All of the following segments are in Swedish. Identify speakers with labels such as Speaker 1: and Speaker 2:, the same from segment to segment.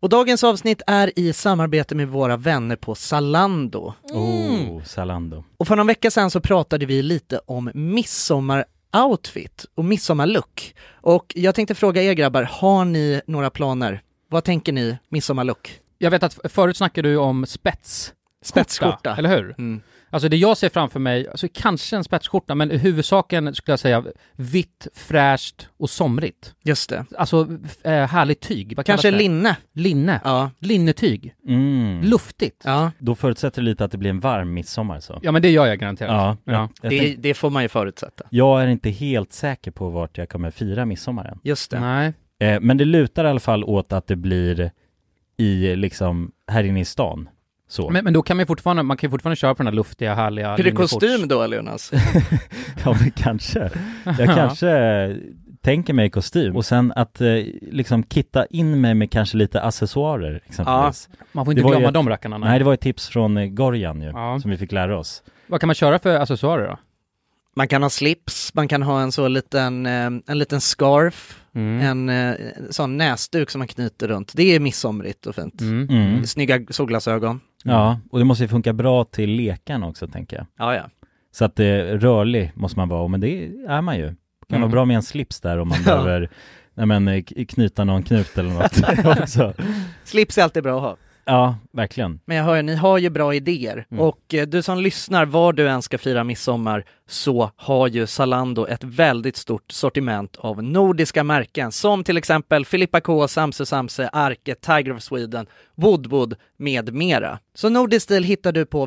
Speaker 1: Och dagens avsnitt är i samarbete med våra vänner på Zalando.
Speaker 2: Mm.
Speaker 3: Oh, Zalando.
Speaker 1: Och för någon vecka sedan så pratade vi lite om midsommaroutfit och midsommarlook. Och jag tänkte fråga er grabbar, har ni några planer? Vad tänker ni midsommarlook?
Speaker 2: Jag vet att förut snackade du om spets.
Speaker 1: Spetsskjorta.
Speaker 2: Eller hur?
Speaker 1: Mm.
Speaker 2: Alltså det jag ser framför mig, alltså kanske en spetsskjorta, men i huvudsaken skulle jag säga vitt, fräscht och somrigt.
Speaker 1: Just det.
Speaker 2: Alltså eh, härligt tyg. Vad kallas
Speaker 1: Kanske
Speaker 2: det?
Speaker 1: linne.
Speaker 2: Linne.
Speaker 1: Ja.
Speaker 2: Linnetyg.
Speaker 3: Mm.
Speaker 2: Luftigt. Ja.
Speaker 1: Ja,
Speaker 3: Då förutsätter det lite att det blir en varm midsommar så.
Speaker 2: men det gör jag garanterat. Ja.
Speaker 3: Ja. Jag,
Speaker 1: det,
Speaker 3: tänk,
Speaker 1: det får man ju förutsätta.
Speaker 3: jag är inte helt säker på vart jag kommer fira midsommaren.
Speaker 1: Just det.
Speaker 2: Nej.
Speaker 3: Eh, men det lutar i alla fall åt att det blir i liksom, här inne i stan. Så.
Speaker 2: Men, men då kan man ju fortfarande, man kan ju fortfarande köra på den här luftiga, härliga
Speaker 1: Blir det
Speaker 2: linneshorts.
Speaker 1: kostym då, Jonas?
Speaker 3: Ja, men kanske. Jag kanske tänker mig kostym och sen att eh, liksom kitta in mig med kanske lite accessoarer exempelvis.
Speaker 2: Man får inte
Speaker 3: Det var ju
Speaker 2: glömma
Speaker 3: ett-
Speaker 2: de rackarna.
Speaker 3: Nej, det var ett tips från eh, Gorjan ju,
Speaker 2: Ja.
Speaker 3: som vi fick lära oss.
Speaker 2: Vad kan man köra för accessoarer då?
Speaker 1: Man kan ha slips, man kan ha en så liten, eh, en liten scarf,
Speaker 2: Mm.
Speaker 1: en eh, sån näsduk som man knyter runt. Det är midsomrigt och fint.
Speaker 2: Mm.
Speaker 3: Mm.
Speaker 1: Snygga solglasögon.
Speaker 3: Ja, och det måste ju funka bra till lekarna också tänker jag.
Speaker 1: Ja, ja.
Speaker 3: Så att eh, rörlig måste man vara, men det är man ju. Det kan
Speaker 2: Mm.
Speaker 3: vara bra med en slips där om man
Speaker 1: Ja.
Speaker 3: behöver nej, men, eh, k- knyta någon knut eller något också.
Speaker 1: Slips är alltid bra att ha.
Speaker 3: Ja, verkligen.
Speaker 1: Men jag hör, ni har ju bra idéer.
Speaker 2: Mm.
Speaker 1: Och eh, du som lyssnar, var du än ska fira midsommar så har ju Zalando ett väldigt stort sortiment av nordiska märken som till exempel Filippa K, Samse Samse, Arke, Tiger of Sweden, Woodwood med mera. Så nordisk stil hittar du på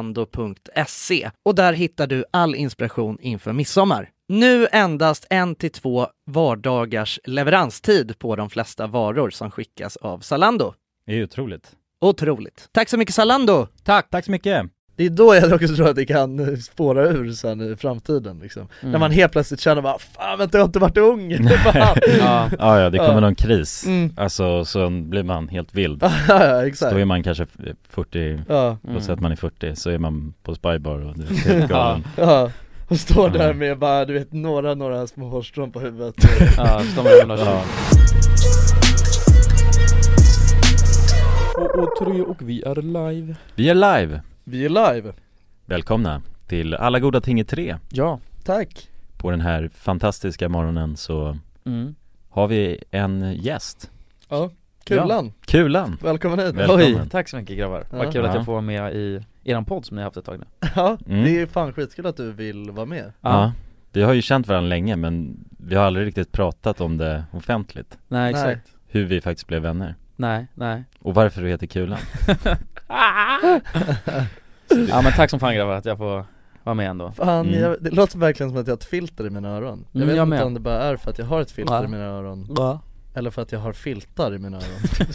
Speaker 1: www.zalando.se och där hittar du all inspiration inför midsommar. Nu endast en till två vardagars leveranstid på de flesta varor som skickas av Zalando.
Speaker 3: Det är ju otroligt.
Speaker 1: Otroligt. Tack så mycket Zalando!
Speaker 3: Tack! Tack så mycket!
Speaker 4: Det är då jag också tror att det kan eh, spåra ur sen i framtiden liksom.
Speaker 5: Mm.
Speaker 3: Mm.
Speaker 4: När
Speaker 2: Mm.
Speaker 4: man helt plötsligt känner bara 'Fan vänta jag har inte varit ung' Fan.
Speaker 2: Ja.
Speaker 3: Ja, ja, det kommer
Speaker 4: Ja.
Speaker 3: någon kris.
Speaker 4: Mm.
Speaker 3: Alltså, så blir man helt vild.
Speaker 4: Ja, ja,
Speaker 3: Så
Speaker 4: exakt
Speaker 3: då är Mm. man kanske 40,
Speaker 4: Ja,
Speaker 3: låt säga att man är 40, så är man på spybar och det är helt
Speaker 2: Ja.
Speaker 3: galen.
Speaker 4: ja och står
Speaker 3: Ja.
Speaker 4: där med bara du vet några, några små hårstrån på huvudet och-
Speaker 2: Ja, så de är
Speaker 3: Ja.
Speaker 5: Och, och tre och vi är live.
Speaker 3: Vi är live!
Speaker 4: Vi är live!
Speaker 3: Välkomna till Alla Goda Ting i Tre.
Speaker 5: Ja.
Speaker 4: Tack!
Speaker 3: På den här fantastiska morgonen så
Speaker 5: Mm.
Speaker 3: har vi en gäst.
Speaker 4: Ja, Kulan,
Speaker 3: Kulan!
Speaker 4: välkommen hit!
Speaker 3: Väl- Välkommen.
Speaker 5: Oj, tack så mycket grabbar.
Speaker 4: Ja.
Speaker 5: Vad kul att
Speaker 3: Ja.
Speaker 5: jag får vara med i eran podd som ni har haft ett tag nu.
Speaker 4: Ja,
Speaker 3: Mm.
Speaker 4: det är fan skitkul att du vill vara med
Speaker 3: Ja. Vi har ju känt varandra länge men vi har aldrig riktigt pratat om det offentligt.
Speaker 5: Nej, exakt.
Speaker 3: Hur vi faktiskt blev vänner.
Speaker 5: Nej, nej.
Speaker 3: Och varför du heter Kulan.
Speaker 5: Ja men tack som fan grabbar att jag får vara med ändå.
Speaker 4: Fan,
Speaker 3: Mm.
Speaker 4: jag, det låter verkligen som att jag har ett filter i mina öron Jag
Speaker 5: Mm,
Speaker 4: vet
Speaker 5: jag
Speaker 4: inte
Speaker 5: med.
Speaker 4: om det bara är för att jag har ett filter
Speaker 5: Ja.
Speaker 4: i mina öron
Speaker 5: Ja.
Speaker 4: Eller för att jag har filtar i mina öron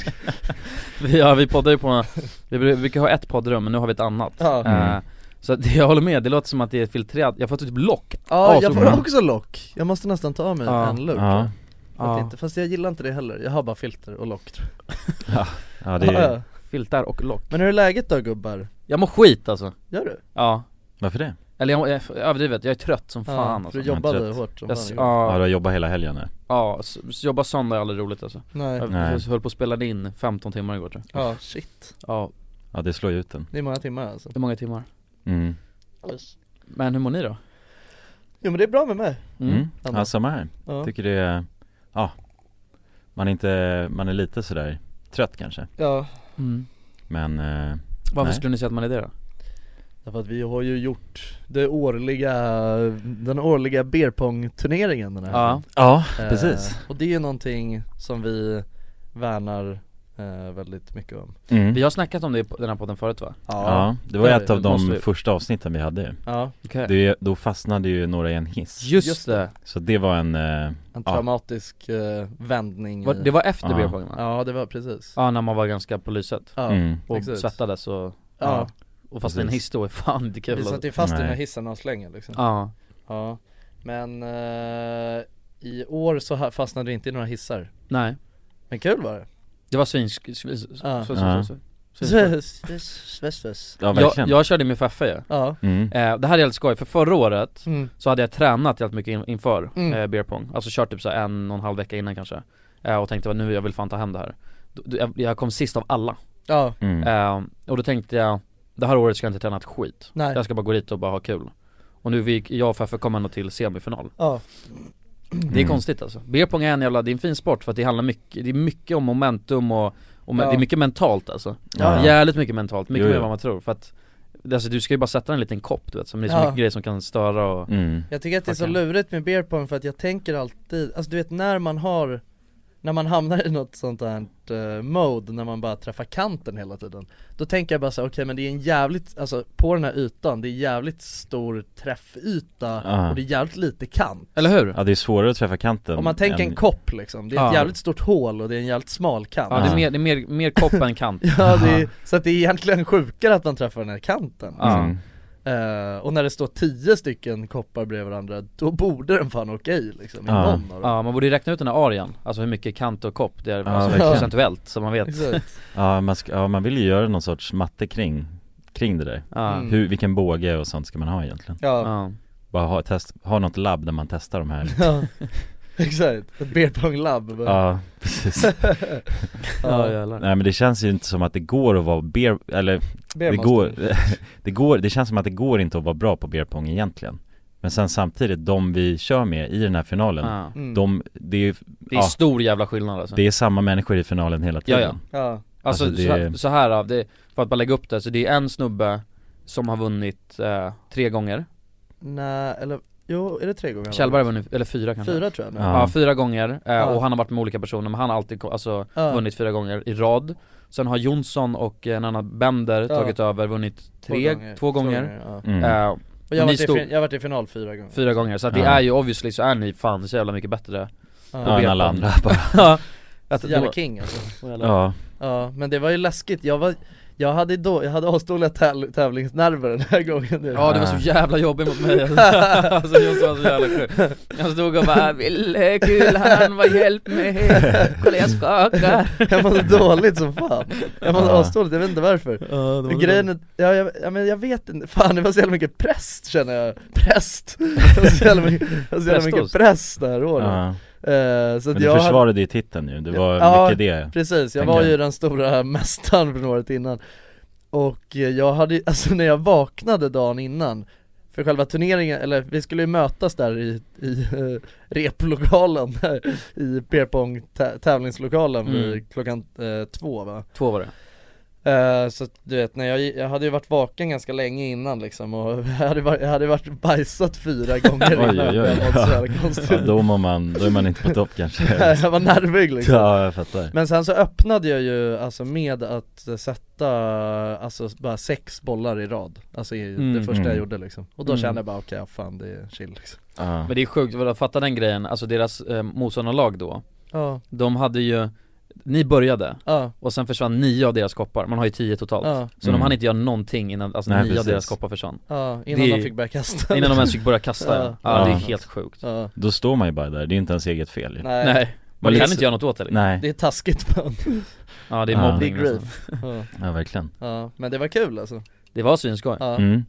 Speaker 5: Ja vi poddar ju på, vi bru- brukar ha ett poddrum men nu har vi ett annat.
Speaker 4: Ja,
Speaker 3: Mm.
Speaker 5: Eh, så att jag håller med, det låter som att det är filtrerat, jag får typ lock
Speaker 4: ja
Speaker 5: Ja,
Speaker 4: jag
Speaker 5: så
Speaker 4: får
Speaker 5: bra.
Speaker 4: också lock Jag måste nästan ta av mig
Speaker 5: Ja.
Speaker 4: en lurk
Speaker 3: Ja,
Speaker 4: Att inte, fast jag gillar inte det heller, jag har bara filter och lock tror
Speaker 3: ja det
Speaker 4: jag. Ja,
Speaker 3: är,
Speaker 4: ja.
Speaker 5: filtar och lock
Speaker 4: Men hur är läget då gubbar?
Speaker 5: Jag mår skit alltså
Speaker 4: Gör du?
Speaker 5: Ja,
Speaker 3: varför det?
Speaker 5: Eller jag, jag överdrivet, jag är trött som fan
Speaker 4: Du
Speaker 5: alltså.
Speaker 3: Jag
Speaker 4: jobbade
Speaker 3: är
Speaker 4: hårt som
Speaker 5: jag,
Speaker 4: fan.
Speaker 3: Ja,
Speaker 5: ja,
Speaker 3: du har jobbat hela helgen nu.
Speaker 5: ja, s- s- jobba söndag är aldrig roligt alltså
Speaker 4: Nej,
Speaker 5: Jag
Speaker 3: Nej.
Speaker 5: höll på att spela in 15 timmar igår tror jag
Speaker 4: ja shit
Speaker 5: Ja,
Speaker 3: Ja, det slår ju ut den.
Speaker 4: Det är många timmar alltså
Speaker 5: det är många timmar
Speaker 3: Mm.
Speaker 5: Men hur mår ni då?
Speaker 4: Jo men det är bra med mig
Speaker 3: Mm.
Speaker 4: Samma.
Speaker 3: Ja, samma här.
Speaker 4: Ja,
Speaker 3: Tycker det är, ja, man är inte, man är lite sådär trött kanske.
Speaker 4: ja.
Speaker 5: Mm.
Speaker 3: Men, eh,
Speaker 5: Varför
Speaker 3: Nej.
Speaker 5: skulle ni säga att man är det då?
Speaker 4: Därför att vi har ju gjort det årliga, den årliga beer pong turneringen den här
Speaker 5: Ja,
Speaker 3: ja,
Speaker 4: Eh,
Speaker 3: precis.
Speaker 4: Och det är ju någonting som vi värnar eh, väldigt mycket om
Speaker 3: Mm.
Speaker 5: vi har snackat om det i po- den här podden förut va?
Speaker 3: Ja, det var
Speaker 4: Ja,
Speaker 3: ett av
Speaker 5: det
Speaker 3: de
Speaker 5: måste vi.
Speaker 3: första avsnitten vi hade ju.
Speaker 4: Ja,
Speaker 5: Okej
Speaker 3: Det, då fastnade ju några i en hiss.
Speaker 5: Just,
Speaker 4: just
Speaker 5: det,
Speaker 3: Så det var en, eh,
Speaker 4: en
Speaker 3: Ja.
Speaker 4: traumatisk eh, vändning
Speaker 5: Var,
Speaker 4: i-
Speaker 5: det var efter
Speaker 3: Ja.
Speaker 5: beer pong, va? ja.
Speaker 4: Ja det var precis
Speaker 5: när man var ganska på lyset
Speaker 4: Ja,
Speaker 3: mm.
Speaker 5: och
Speaker 4: Exakt.
Speaker 5: svettades och,
Speaker 4: ja.
Speaker 5: och fast i en
Speaker 3: Precis.
Speaker 5: hiss då är fan inte kul
Speaker 4: vi
Speaker 5: alltså.
Speaker 4: satt ju fast i den här
Speaker 3: Nej.
Speaker 4: hissen avslängen liksom
Speaker 5: Ja,
Speaker 4: Ja, men eh, i år så ha- fastnade vi inte i några hissar
Speaker 5: nej
Speaker 4: Men kul var det!
Speaker 5: Det var svinsk... svins-
Speaker 4: Ja.
Speaker 5: så- så-
Speaker 3: Ja.
Speaker 5: så- så-
Speaker 4: Typ.
Speaker 5: svinskoj.
Speaker 3: Ja,
Speaker 5: Jag,
Speaker 3: verkligen.
Speaker 5: jag körde min Feffe ju
Speaker 4: Ja,
Speaker 3: Mm.
Speaker 5: Eh, Det här är helt skoj, för förra året
Speaker 4: mm.
Speaker 5: så hade jag tränat helt mycket in, inför
Speaker 4: Mm.
Speaker 5: eh, beer pong Alltså kört typ så här en och en halv vecka innan kanske eh, Och tänkte "Va, nu jag vill fan ta hem det här Då- då- jag, jag kom sist av alla
Speaker 4: ja,
Speaker 3: Mm.
Speaker 5: eh, Och då tänkte jag Det här året ska jag inte träna ett skit
Speaker 4: nej,
Speaker 5: Jag ska bara gå dit och bara ha kul Och nu gick jag och Feffe kom ändå till semifinal
Speaker 4: ja,
Speaker 5: Det är
Speaker 3: Mm.
Speaker 5: konstigt alltså Beer pong är en jävla, det är en fin sport för att det handlar mycket, det är mycket om momentum och, och men-
Speaker 4: Ja.
Speaker 5: det är mycket mentalt alltså
Speaker 3: Ja.
Speaker 5: Jävligt mycket mentalt, mycket
Speaker 3: Jo,
Speaker 5: mer än
Speaker 3: jo.
Speaker 5: vad man tror för att Alltså du ska ju bara sätta en liten kopp du vet, som det är så
Speaker 4: Ja.
Speaker 5: mycket grejer som kan störa och
Speaker 3: Mm.
Speaker 4: Jag tycker att det är så
Speaker 5: Okej.
Speaker 4: lurigt med beer pong för att jag tänker alltid, alltså du vet när man har när man hamnar i något sånt här eh, mode, när man bara träffar kanten hela tiden Då tänker jag bara så här, okej men det är en jävligt, alltså på den här ytan, det är jävligt stor träffyta
Speaker 3: Ja.
Speaker 4: och det är jävligt lite kant
Speaker 5: Eller hur? Ja,
Speaker 3: Ja, det är svårare att träffa kanten
Speaker 4: Om man tänker
Speaker 3: än-
Speaker 4: en kopp liksom, det är ett
Speaker 5: Ja.
Speaker 4: jävligt stort hål och det är en jävligt smal kant
Speaker 5: det är mer, det är mer, mer kopp än kant
Speaker 4: Ja, det är, så att det är egentligen sjukare att man träffar den här kanten
Speaker 5: Ja.
Speaker 3: Mm.
Speaker 4: Eh, Och när det står tio stycken koppar bredvid varandra, då borde den fan åka i liksom, i
Speaker 3: Ja.
Speaker 4: någon av dem
Speaker 5: Ja man borde ju räkna ut den här arian, alltså hur mycket kant och kopp det är alltså,
Speaker 3: verkligen.
Speaker 5: procentuellt så man vet
Speaker 4: Exakt.
Speaker 3: Ja, man ska, ja, man vill ju göra någon sorts matte kring, kring det där
Speaker 5: ja.
Speaker 4: Mm.
Speaker 3: Hur, vilken båge och sånt ska man ha egentligen?
Speaker 4: Ja,
Speaker 5: Ja.
Speaker 3: Bara ha, test, ha något labb där man testar de här
Speaker 4: ja. exakt, ett beer pong labb
Speaker 3: Ja, precis
Speaker 5: Ja, jävlar.
Speaker 3: Nej men det känns ju inte som att det går att vara beer, eller
Speaker 4: Beer
Speaker 3: det
Speaker 4: monster.
Speaker 3: går, det går, det känns som att det går inte att vara bra på beer pong egentligen Men sen samtidigt, de vi kör med i den här finalen,
Speaker 5: Ja.
Speaker 4: Mm.
Speaker 3: de, det är ju,
Speaker 5: Det är
Speaker 3: ja,
Speaker 5: stor jävla skillnad alltså
Speaker 3: det är samma människor i finalen hela tiden
Speaker 5: Ja,
Speaker 4: Ja,
Speaker 5: Alltså,
Speaker 3: Alltså, det-
Speaker 5: så, här- så här, av det, för att bara lägga upp det, så det är en snubbe som har vunnit eh, tre gånger
Speaker 4: nej eller, jo är det tre gånger?
Speaker 5: Kjellberg har vunnit, eller fyra kanske
Speaker 4: Fyra tror jag nu
Speaker 5: Ja,
Speaker 3: Ja.
Speaker 5: fyra gånger, eh,
Speaker 4: Ja.
Speaker 5: och han har varit med olika personer men han har alltid ko- alltså,
Speaker 4: Ja.
Speaker 5: vunnit fyra gånger i rad Sen har Jonsson och eh, en annan Bender
Speaker 4: Ja.
Speaker 5: tagit över, vunnit
Speaker 4: Två
Speaker 5: tre, två gånger,
Speaker 4: gånger. ja.
Speaker 3: Mm.
Speaker 5: Eh,
Speaker 4: Och jag har
Speaker 5: Ni
Speaker 4: varit, i,
Speaker 5: stod-
Speaker 4: fin- jag har varit i final fyra gånger
Speaker 5: fyra gånger, så att det
Speaker 3: Ja.
Speaker 5: är ju obviously så är ni fan så jävla mycket bättre
Speaker 3: ja,
Speaker 4: ja.
Speaker 3: än
Speaker 5: beer
Speaker 3: alla
Speaker 5: pong.
Speaker 3: andra bara,
Speaker 5: Att
Speaker 4: Så
Speaker 5: det
Speaker 4: Jävla
Speaker 5: var-
Speaker 4: king alltså
Speaker 3: ja,
Speaker 4: Ja, men det var ju läskigt, jag var, jag hade då, jag hade asdåliga täv- tävlingsnerver den här gången nu
Speaker 5: Ja det var så jävla jobbigt mot mig alltså Jonsson var så jävla sjuk Jag stod och bara 'Ville kulan, vad hjälp mig, kolla jag skakar'
Speaker 4: Jag mådde dåligt som fan Jag mådde
Speaker 3: Ja.
Speaker 4: asdåligt, jag vet inte varför Men Grejen är, ja, jag, ja men jag vet inte, fan det var så jävla mycket präst känner jag Präst! Det var så jävla mycket, det var så jävla mycket
Speaker 5: Prästost.
Speaker 4: präst det här året
Speaker 3: ja.
Speaker 4: Eh, Så
Speaker 3: Men
Speaker 4: att
Speaker 3: du
Speaker 4: jag hade,
Speaker 3: försvarade ju titeln ju, det var
Speaker 4: Ja.
Speaker 3: mycket det
Speaker 4: precis, jag
Speaker 3: tänker
Speaker 4: var ju
Speaker 3: jag.
Speaker 4: den stora mästaren från året innan Och eh, jag hade ju- alltså när jag vaknade dagen innan för själva turneringen, eller vi skulle ju mötas där i, i eh, replokalen, i beerpong tävlingslokalen
Speaker 5: Mm.
Speaker 4: vid klockan eh, två va?
Speaker 5: Två var det
Speaker 4: Eh, så att, du vet, när jag, jag hade ju varit vaken ganska länge innan liksom och jag hade, varit, jag hade varit bajsat fyra gånger innan
Speaker 3: Oj, oj, oj.
Speaker 4: Jag mådde så jävla konstigt
Speaker 3: Ja, då mår man, då är man inte på topp kanske
Speaker 4: Jag var nervig liksom
Speaker 3: Ja, jag fattar
Speaker 4: Men sen så öppnade jag ju alltså med att eh, sätta alltså bara sex bollar i rad Alltså i, det
Speaker 5: Mm.
Speaker 4: första jag
Speaker 3: Mm.
Speaker 4: gjorde liksom Och då
Speaker 5: Mm.
Speaker 4: kände jag bara okej fan det är chill liksom
Speaker 3: ja.
Speaker 5: Men det är sjukt, vadå, fatta den grejen, alltså deras eh, motståndarlag då
Speaker 4: Ja,
Speaker 5: De hade ju, ni började
Speaker 4: ja,
Speaker 5: och sen försvann nio av deras koppar, man har ju tio totalt
Speaker 4: ja,
Speaker 5: Så
Speaker 3: Mm.
Speaker 5: de hann inte göra någonting innan, alltså
Speaker 3: Nej,
Speaker 5: nio av
Speaker 3: precis.
Speaker 5: deras koppar försvann
Speaker 4: ja, innan
Speaker 5: Det är-
Speaker 4: de fick börja kasta
Speaker 5: Innan de ens fick börja kasta ja,
Speaker 4: Ja.
Speaker 5: ja det är
Speaker 3: Ja.
Speaker 5: helt sjukt
Speaker 4: ja.
Speaker 3: Då står man ju bara där, det är inte ens eget fel ju.
Speaker 4: Nej,
Speaker 5: Nej, man
Speaker 3: Man
Speaker 5: kan
Speaker 3: liksom-
Speaker 5: inte göra något åt det liksom.
Speaker 3: Nej,
Speaker 4: det är taskigt man
Speaker 5: Ja det är
Speaker 3: Ja.
Speaker 4: Det
Speaker 5: mobbning liksom.
Speaker 4: är
Speaker 5: nästan.
Speaker 4: grief ja,
Speaker 3: ja verkligen
Speaker 4: ja, men det var kul alltså
Speaker 5: Det var svinskoj
Speaker 4: ja.
Speaker 3: mm.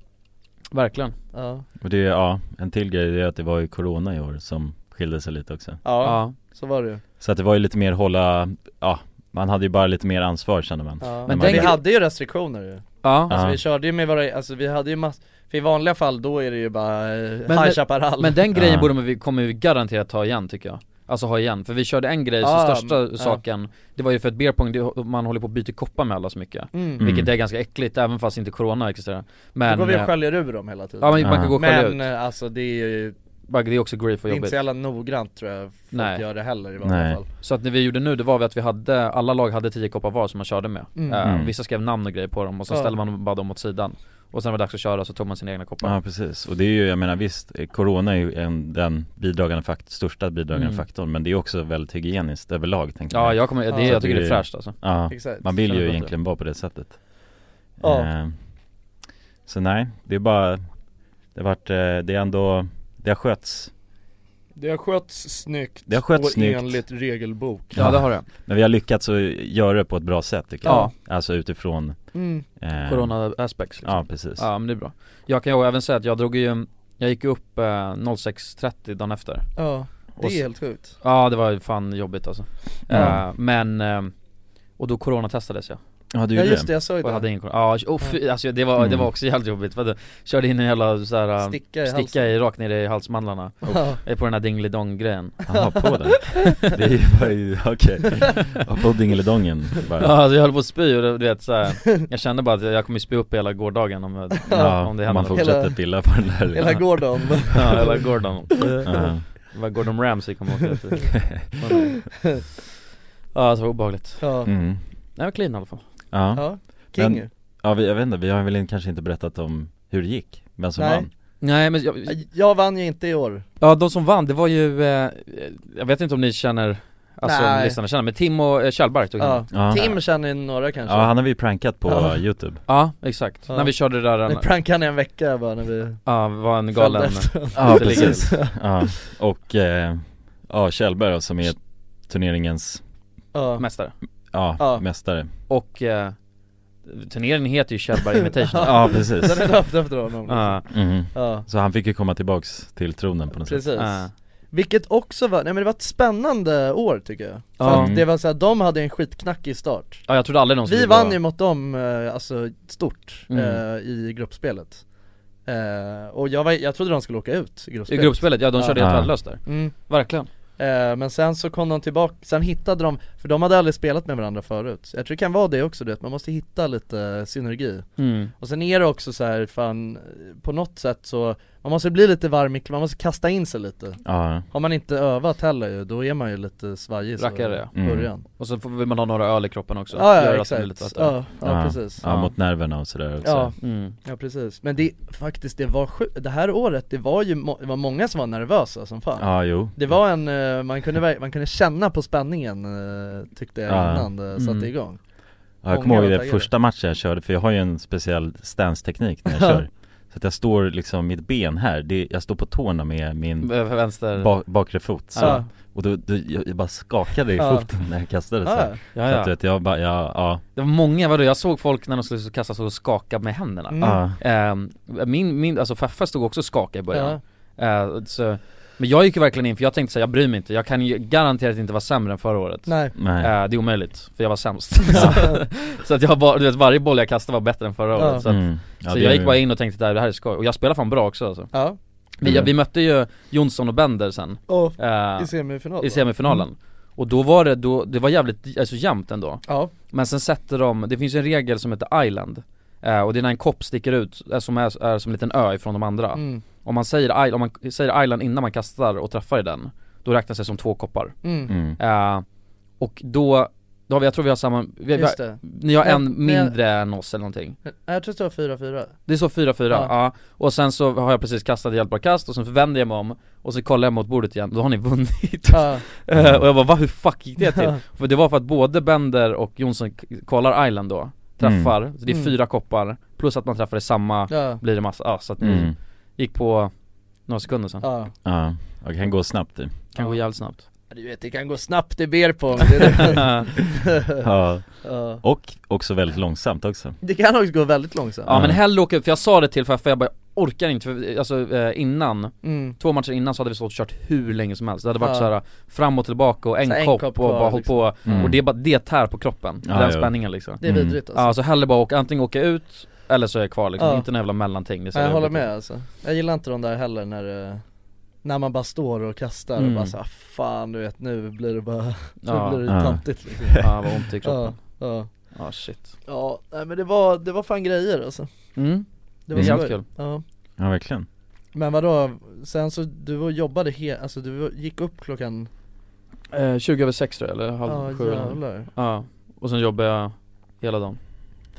Speaker 2: Verkligen.
Speaker 4: Ja,
Speaker 3: Och det är, ja, en till grej det är att det var ju corona i år som skilde sig lite också
Speaker 4: ja,
Speaker 2: Ja.
Speaker 4: så var det ju
Speaker 3: Så att det var ju lite mer hålla, ja, man hade ju bara lite mer ansvar kände man
Speaker 4: ja.
Speaker 2: Men
Speaker 4: Men
Speaker 2: den
Speaker 4: vi
Speaker 2: gre-
Speaker 4: hade ju restriktioner ju
Speaker 2: Ja.
Speaker 3: Ja.
Speaker 4: Alltså vi körde ju med våra, alltså vi hade ju mass, för i vanliga fall då är det ju bara eh,
Speaker 5: men-
Speaker 4: High Chaparral
Speaker 5: Men den
Speaker 3: Ja.
Speaker 5: grejen borde vi, kommer vi garanterat ta igen tycker jag Alltså ha igen, för vi körde en grej, så
Speaker 4: Ah,
Speaker 5: största
Speaker 4: mm, ja.
Speaker 5: saken Det var ju för att beer pong, det, man håller på att byta koppar med alla så mycket
Speaker 4: mm.
Speaker 3: Mm.
Speaker 5: Vilket är ganska äckligt, även fast inte corona existerar Men,
Speaker 4: Då går vi
Speaker 5: eh,
Speaker 4: och sköljer ur dem hela tiden
Speaker 5: ja men man
Speaker 3: Ja.
Speaker 5: kan gå och skölja
Speaker 4: Men
Speaker 5: ut,
Speaker 4: eh, alltså det är ju
Speaker 5: Bara, det är också grief och
Speaker 4: det är inte
Speaker 5: jobbigt
Speaker 4: så jävla noggrant tror jag folk
Speaker 5: Nej.
Speaker 4: gör det heller i vanliga
Speaker 3: Nej.
Speaker 4: fall
Speaker 5: Så att när vi gjorde nu, det var vi att vi hade, alla lag hade tio koppar var som man körde med
Speaker 4: Mm.
Speaker 5: Eh,
Speaker 3: Mm.
Speaker 5: Vissa skrev namn och grejer på dem och så
Speaker 4: Ja.
Speaker 5: ställde man bara dem åt sidan Och sen var det dags att köra så tog man sina egna koppar
Speaker 3: Ja precis, och det är ju, jag menar visst, eh, Corona är ju en, den bidragande faktorn, största bidragande
Speaker 5: Mm.
Speaker 3: faktorn Men det är också väldigt hygieniskt överlag tänker
Speaker 5: Ja
Speaker 3: jag
Speaker 5: jag kommer, det,
Speaker 4: Ja.
Speaker 5: jag tycker det
Speaker 3: Det-
Speaker 5: är fräscht alltså
Speaker 3: ja,
Speaker 4: Exakt
Speaker 3: man vill
Speaker 5: känner
Speaker 3: ju
Speaker 5: bättre.
Speaker 3: egentligen vara på det sättet
Speaker 4: Ja.
Speaker 3: Eh, Så nej, det är bara, det har varit, eh, det är ändå, det har skötts
Speaker 4: Det har skötts snyggt
Speaker 3: Det har skötts
Speaker 4: och
Speaker 3: snyggt.
Speaker 4: enligt regelbok
Speaker 5: Ja det har det,
Speaker 3: Men vi har lyckats att göra det på ett bra sätt tycker
Speaker 5: Ja.
Speaker 3: jag Alltså utifrån
Speaker 4: mm.
Speaker 3: eh,
Speaker 5: corona aspects liksom.
Speaker 3: Ja precis
Speaker 5: Ja men det är bra Jag kan ju även säga att jag drog ju, jag gick ju upp eh, 06.30 dagen efter
Speaker 4: Ja, det
Speaker 5: Och
Speaker 4: är
Speaker 5: s-
Speaker 4: helt sjukt
Speaker 5: Ja det var ju fan jobbigt alltså
Speaker 3: Ja.
Speaker 5: Eh, Men, eh, och då coronatestades jag
Speaker 3: Ja du
Speaker 4: Ja
Speaker 3: gjorde
Speaker 4: just
Speaker 3: det
Speaker 4: det, jag såg
Speaker 5: och jag hade
Speaker 4: det
Speaker 5: ingen corona, ja och fy, alltså det var, det var
Speaker 3: Mm.
Speaker 5: också jävligt jobbigt för att jag körde in en jävla så här, eh,
Speaker 4: Sticka i
Speaker 5: sticka i, rakt ner i halsmandlarna
Speaker 4: halsen
Speaker 5: Eh, På den här dinglidong grejen
Speaker 3: Jaha, på den? Det är ju bara, ju- okej, Ja, på dingelidongen bara
Speaker 5: Ja alltså jag höll på att spy och det- du vet så här, jag kände bara att jag kommer spy upp hela gårdagen om, jag-
Speaker 3: Ja,
Speaker 5: om
Speaker 3: man
Speaker 5: det händer något.
Speaker 3: fortsätter
Speaker 4: Hela-
Speaker 3: pilla på den där
Speaker 4: Hela Gordon
Speaker 5: Ja hela Eh. Gordon,
Speaker 3: Ja.
Speaker 5: det var Gordon Ramsay kommer ihåg det Ja så var det obehagligt
Speaker 4: Ja,
Speaker 3: Mm.
Speaker 5: Nej men clean i alla fall
Speaker 3: Ja,
Speaker 4: ja, king
Speaker 3: Men- ja vi, jag vet inte, vi har väl in- kanske inte berättat om hur det gick, vem som
Speaker 4: Nej.
Speaker 3: vann
Speaker 5: Nej men jag,
Speaker 4: Jag vann ju inte i år
Speaker 5: ja de som vann det var ju, eh, jag vet inte om ni känner, alltså om
Speaker 4: Nej.
Speaker 5: lyssnarna känner, men Tim och eh, Kjellberg tog hem
Speaker 4: ja.
Speaker 5: den.
Speaker 3: Ja,
Speaker 4: Tim känner ju några kanske
Speaker 3: ja han har vi prankat på
Speaker 4: Ja.
Speaker 3: youtube
Speaker 5: Ja exakt,
Speaker 4: Ja.
Speaker 5: när vi körde det där,
Speaker 4: Vi
Speaker 5: en-
Speaker 4: prankade han i en vecka bara när vi
Speaker 5: ja var en galen eh,
Speaker 4: följde efter honom.
Speaker 3: Ja
Speaker 5: Det ligger-
Speaker 3: precis, ja. och eh, ja Kjellberg då, som är turneringens,
Speaker 4: Ja,
Speaker 5: mästare
Speaker 3: ja,
Speaker 4: Ja.
Speaker 3: mästare
Speaker 5: Och eh, turneringen heter ju Kjellberg Invitation
Speaker 3: Ja
Speaker 4: den
Speaker 3: precis,
Speaker 4: är döpt efter honom
Speaker 5: Ja,
Speaker 3: mm.
Speaker 4: Ja,
Speaker 3: så han fick ju komma tillbaks till tronen på något sätt
Speaker 4: precis
Speaker 5: eh,
Speaker 4: Vilket också var, nej men det var ett spännande år tycker jag För
Speaker 5: Ja.
Speaker 4: att det var såhär, de hade en skitknackig start
Speaker 5: ja jag trodde aldrig någon skulle
Speaker 4: Vi
Speaker 5: vara-
Speaker 4: vann ju mot dem, eh, alltså stort,
Speaker 5: Mm.
Speaker 4: eh, i gruppspelet Eh, Och jag, var, jag trodde de skulle åka ut i
Speaker 5: I
Speaker 4: gruppspelet
Speaker 5: gruppspelet, ja de
Speaker 4: Ja.
Speaker 5: körde helt
Speaker 3: Ja.
Speaker 5: värdelöst där
Speaker 4: mm.
Speaker 5: Verkligen
Speaker 4: eh, Men sen så kom de tillbaka, sen hittade de, för de hade aldrig spelat med varandra förut Jag tror det kan vara det också du vet, man måste hitta lite synergi
Speaker 5: mm.
Speaker 4: Och sen är det också så här, fan, eh, på något sätt så, man måste bli lite varm i, man måste kasta in sig lite
Speaker 3: Ja,
Speaker 4: Har man inte övat heller ju, då är man ju lite svajig så
Speaker 5: Rackare, ja.
Speaker 4: i
Speaker 3: Mm.
Speaker 4: början
Speaker 5: Och så får- vill man ha några öl i kroppen också,
Speaker 4: Ja,
Speaker 5: Göra
Speaker 4: ja
Speaker 5: att det blir lite
Speaker 4: exakt,
Speaker 5: lättare.
Speaker 4: ja, ja precis
Speaker 3: ja, mot nerverna och sådär också
Speaker 4: Ja,
Speaker 5: mm.
Speaker 4: ja precis, men det, faktiskt det var sju, det här året, det var ju, må- det var många som var nervösa som fan
Speaker 3: Ja, jo
Speaker 4: Det var en, eh, man kunde, verk- man kunde känna på spänningen eh, tyckte jag
Speaker 3: Ja.
Speaker 4: innan det satte
Speaker 5: Mm.
Speaker 4: igång
Speaker 3: Ja, jag
Speaker 4: Många
Speaker 3: kommer
Speaker 4: var
Speaker 3: ihåg det
Speaker 4: taggade.
Speaker 3: första matchen jag körde, för jag har ju en speciell stance-teknik när jag kör Så att jag står liksom, mitt ben här, det, jag står på tårna med min
Speaker 5: V- Mm. Vänster
Speaker 3: ba, bakre fot så.
Speaker 4: Ja.
Speaker 3: Och då, då, jag jag bara skakade i
Speaker 4: Ja.
Speaker 3: foten när jag kastade så, här.
Speaker 4: Ja,
Speaker 5: ja,
Speaker 3: så
Speaker 5: ja.
Speaker 3: att du vet, jag bara, ja, ja,
Speaker 5: Det var många, vadå, jag såg folk när de skulle kasta så och skaka med händerna
Speaker 4: Mm.
Speaker 3: ja,
Speaker 5: Ehm, Min, min, alltså Feffa stod också och skakade i början
Speaker 4: ja,
Speaker 5: Ehm, så, Men jag gick ju verkligen in för jag tänkte säga jag bryr mig inte, jag kan ju garanterat inte vara sämre än förra året
Speaker 4: nej,
Speaker 3: nej,
Speaker 5: Ehm, Det är omöjligt, för jag var sämst Så att jag bara, du vet varje boll jag kastade var bättre än förra
Speaker 4: Ja.
Speaker 5: året Så, att,
Speaker 3: Mm. Ja,
Speaker 5: så
Speaker 3: det
Speaker 5: jag
Speaker 3: är-
Speaker 5: gick bara in och tänkte "Det här- det här är skoj, och jag spelade fan bra också alltså.
Speaker 4: ja,
Speaker 5: vi,
Speaker 3: Mm.
Speaker 5: vi mötte ju Jonsson och Bender sen
Speaker 4: och
Speaker 5: ehm,
Speaker 4: i semifinal
Speaker 5: i
Speaker 4: då?
Speaker 5: semifinalen Och då var det, då, det var jävligt, alltså jämnt ändå
Speaker 4: Ja,
Speaker 5: Men sen sätter de, det finns ju en regel som heter island eh, Och det är när en kopp sticker ut, eh, som är, är som en liten ö ifrån de andra
Speaker 4: mm,
Speaker 5: om, man säger, i- om man säger island innan man kastar och träffar i den Då räknas det som två koppar
Speaker 4: mm,
Speaker 3: mm.
Speaker 5: eh, Och då, då har vi, jag tror vi har samma, vi, vi har,
Speaker 4: just det
Speaker 5: ni har
Speaker 4: Nej,
Speaker 5: en
Speaker 4: men jag-
Speaker 5: mindre än oss eller någonting
Speaker 4: Nej, Jag tror det var 4-4
Speaker 5: Det är så 4-4, ja.
Speaker 4: Ja.
Speaker 5: Och sen så har jag precis kastat ett hjälpbart kast och sen vänder jag mig om Och så kollar jag mot bordet igen, då har ni vunnit
Speaker 4: Ja,
Speaker 5: Eh, Och jag bara va, hur fuck gick det till?
Speaker 4: Ja.
Speaker 5: För det var för att både Bender och Jonsson k- kvalar Island då Träffar, så det är
Speaker 4: Mm.
Speaker 5: fyra koppar Plus att man träffar i samma,
Speaker 4: ja,
Speaker 5: blir det massa, ja, så att ni
Speaker 3: Mm.
Speaker 5: gick på några sekunder sen
Speaker 4: ja
Speaker 3: Ja, jag kan gå snabbt du
Speaker 5: Kan gå jävligt snabbt
Speaker 4: Du vet, det kan gå snabbt i Beerpong, det, är det.
Speaker 5: Ja
Speaker 3: ja.
Speaker 4: ja.
Speaker 3: Och också väldigt långsamt också
Speaker 4: det kan också gå väldigt långsamt
Speaker 5: men hellre åka, för jag sa det till Feffe, jag bara orkar inte, för, alltså eh, innan,
Speaker 4: Mm.
Speaker 5: två matcher innan så hade vi stått och kört hur länge som helst Det hade varit
Speaker 4: Ja.
Speaker 5: så här fram och tillbaka och en,
Speaker 4: Så en
Speaker 5: kopp,
Speaker 4: kopp
Speaker 5: och
Speaker 4: kvar, liksom.
Speaker 5: bara hållit på
Speaker 3: Mm.
Speaker 5: Och det, är bara- det tär på kroppen,
Speaker 3: Ja,
Speaker 5: den
Speaker 3: ja.
Speaker 5: spänningen liksom
Speaker 4: Det är
Speaker 3: Mm.
Speaker 4: vidrigt
Speaker 5: Ja
Speaker 4: alltså.
Speaker 5: så hellre bara åka, antingen åka ut eller så är jag kvar liksom,
Speaker 4: Ja.
Speaker 5: inte några jävla mellanting det är så
Speaker 4: Nej, jag
Speaker 5: jävla
Speaker 4: håller
Speaker 5: jobbigt.
Speaker 4: med alltså. Jag gillar inte de där heller när eh, när man bara står och kastar
Speaker 5: Mm.
Speaker 4: och bara så, ah, fan du vet nu blir det bara, nu
Speaker 5: Ja,
Speaker 4: blir
Speaker 3: Ja.
Speaker 4: det tantigt liksom.
Speaker 5: ja vad ont i
Speaker 4: Ja,
Speaker 5: kroppen,
Speaker 4: ja.
Speaker 5: ja shit
Speaker 4: ja nej, men det var, det var fan grejer alltså.
Speaker 5: mm.
Speaker 4: Det
Speaker 5: Det
Speaker 4: var
Speaker 5: är
Speaker 3: Mm.
Speaker 5: jävligt
Speaker 4: skoj.
Speaker 5: kul
Speaker 4: Ja.
Speaker 3: Ja verkligen
Speaker 4: Men vadå, sen så du var- jobbade helt, alltså du gick upp klockan,
Speaker 5: 20 Eh, över 6 tror jag, eller halv
Speaker 4: ja
Speaker 5: sju eller något.
Speaker 4: jävlar.
Speaker 5: Ja, och sen jobbar jag hela dagen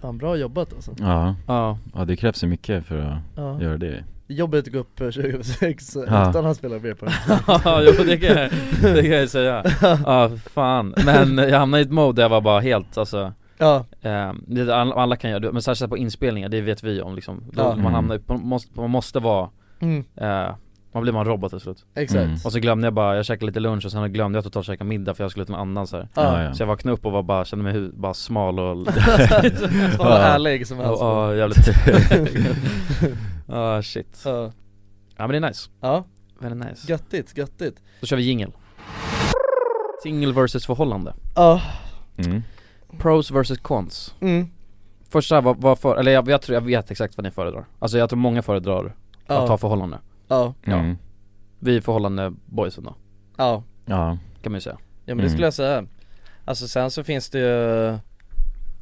Speaker 4: Fan bra jobbat alltså.
Speaker 3: Ja,
Speaker 5: Ja,
Speaker 3: ja det krävs ju mycket för att
Speaker 4: Ja.
Speaker 3: göra det
Speaker 4: Jobbigt att gå upp eh, 26 eh,
Speaker 3: Ja.
Speaker 4: utan att spela mer på
Speaker 5: ja jo, det, kan jag, det kan jag säga Ja fan, men jag hamnade i ett mode där jag var bara helt alltså
Speaker 4: Ja,
Speaker 5: eh, det, alla, alla kan göra det, men särskilt på inspelningar, det vet vi om liksom Då
Speaker 4: Ja.
Speaker 5: Man hamnar, man måste, man måste vara,
Speaker 4: mm,
Speaker 5: eh, man blir man robot till slut
Speaker 4: exakt.
Speaker 3: Mm.
Speaker 5: Och så glömde jag bara, jag käkade lite lunch och sen glömde jag totalt käka middag för jag skulle till någon annan så här.
Speaker 4: Ja,
Speaker 3: Ja, ja.
Speaker 5: Så jag vaknade upp och var bara, kände mig hu- bara smal och, och,
Speaker 4: fan vad härlig som helst.
Speaker 5: och, jävligt Ah shit
Speaker 4: Ja.
Speaker 5: Ja men det är nice,
Speaker 4: ja,
Speaker 5: väldigt nice
Speaker 4: göttigt, göttigt.
Speaker 5: Då kör vi jingel Single versus förhållande
Speaker 4: Ja,
Speaker 3: mm.
Speaker 5: Pros versus cons
Speaker 4: mm,
Speaker 5: Första, vad, vad för, eller jag, jag tror, jag vet exakt vad ni föredrar Alltså jag tror många föredrar att
Speaker 4: ja,
Speaker 5: ta förhållande
Speaker 4: ja,
Speaker 3: Mm.
Speaker 5: Vi är förhållande boysen då,
Speaker 4: ja.
Speaker 3: Ja,
Speaker 5: kan man ju säga
Speaker 4: Ja men det
Speaker 3: Mm.
Speaker 4: skulle jag säga Alltså sen så finns det ju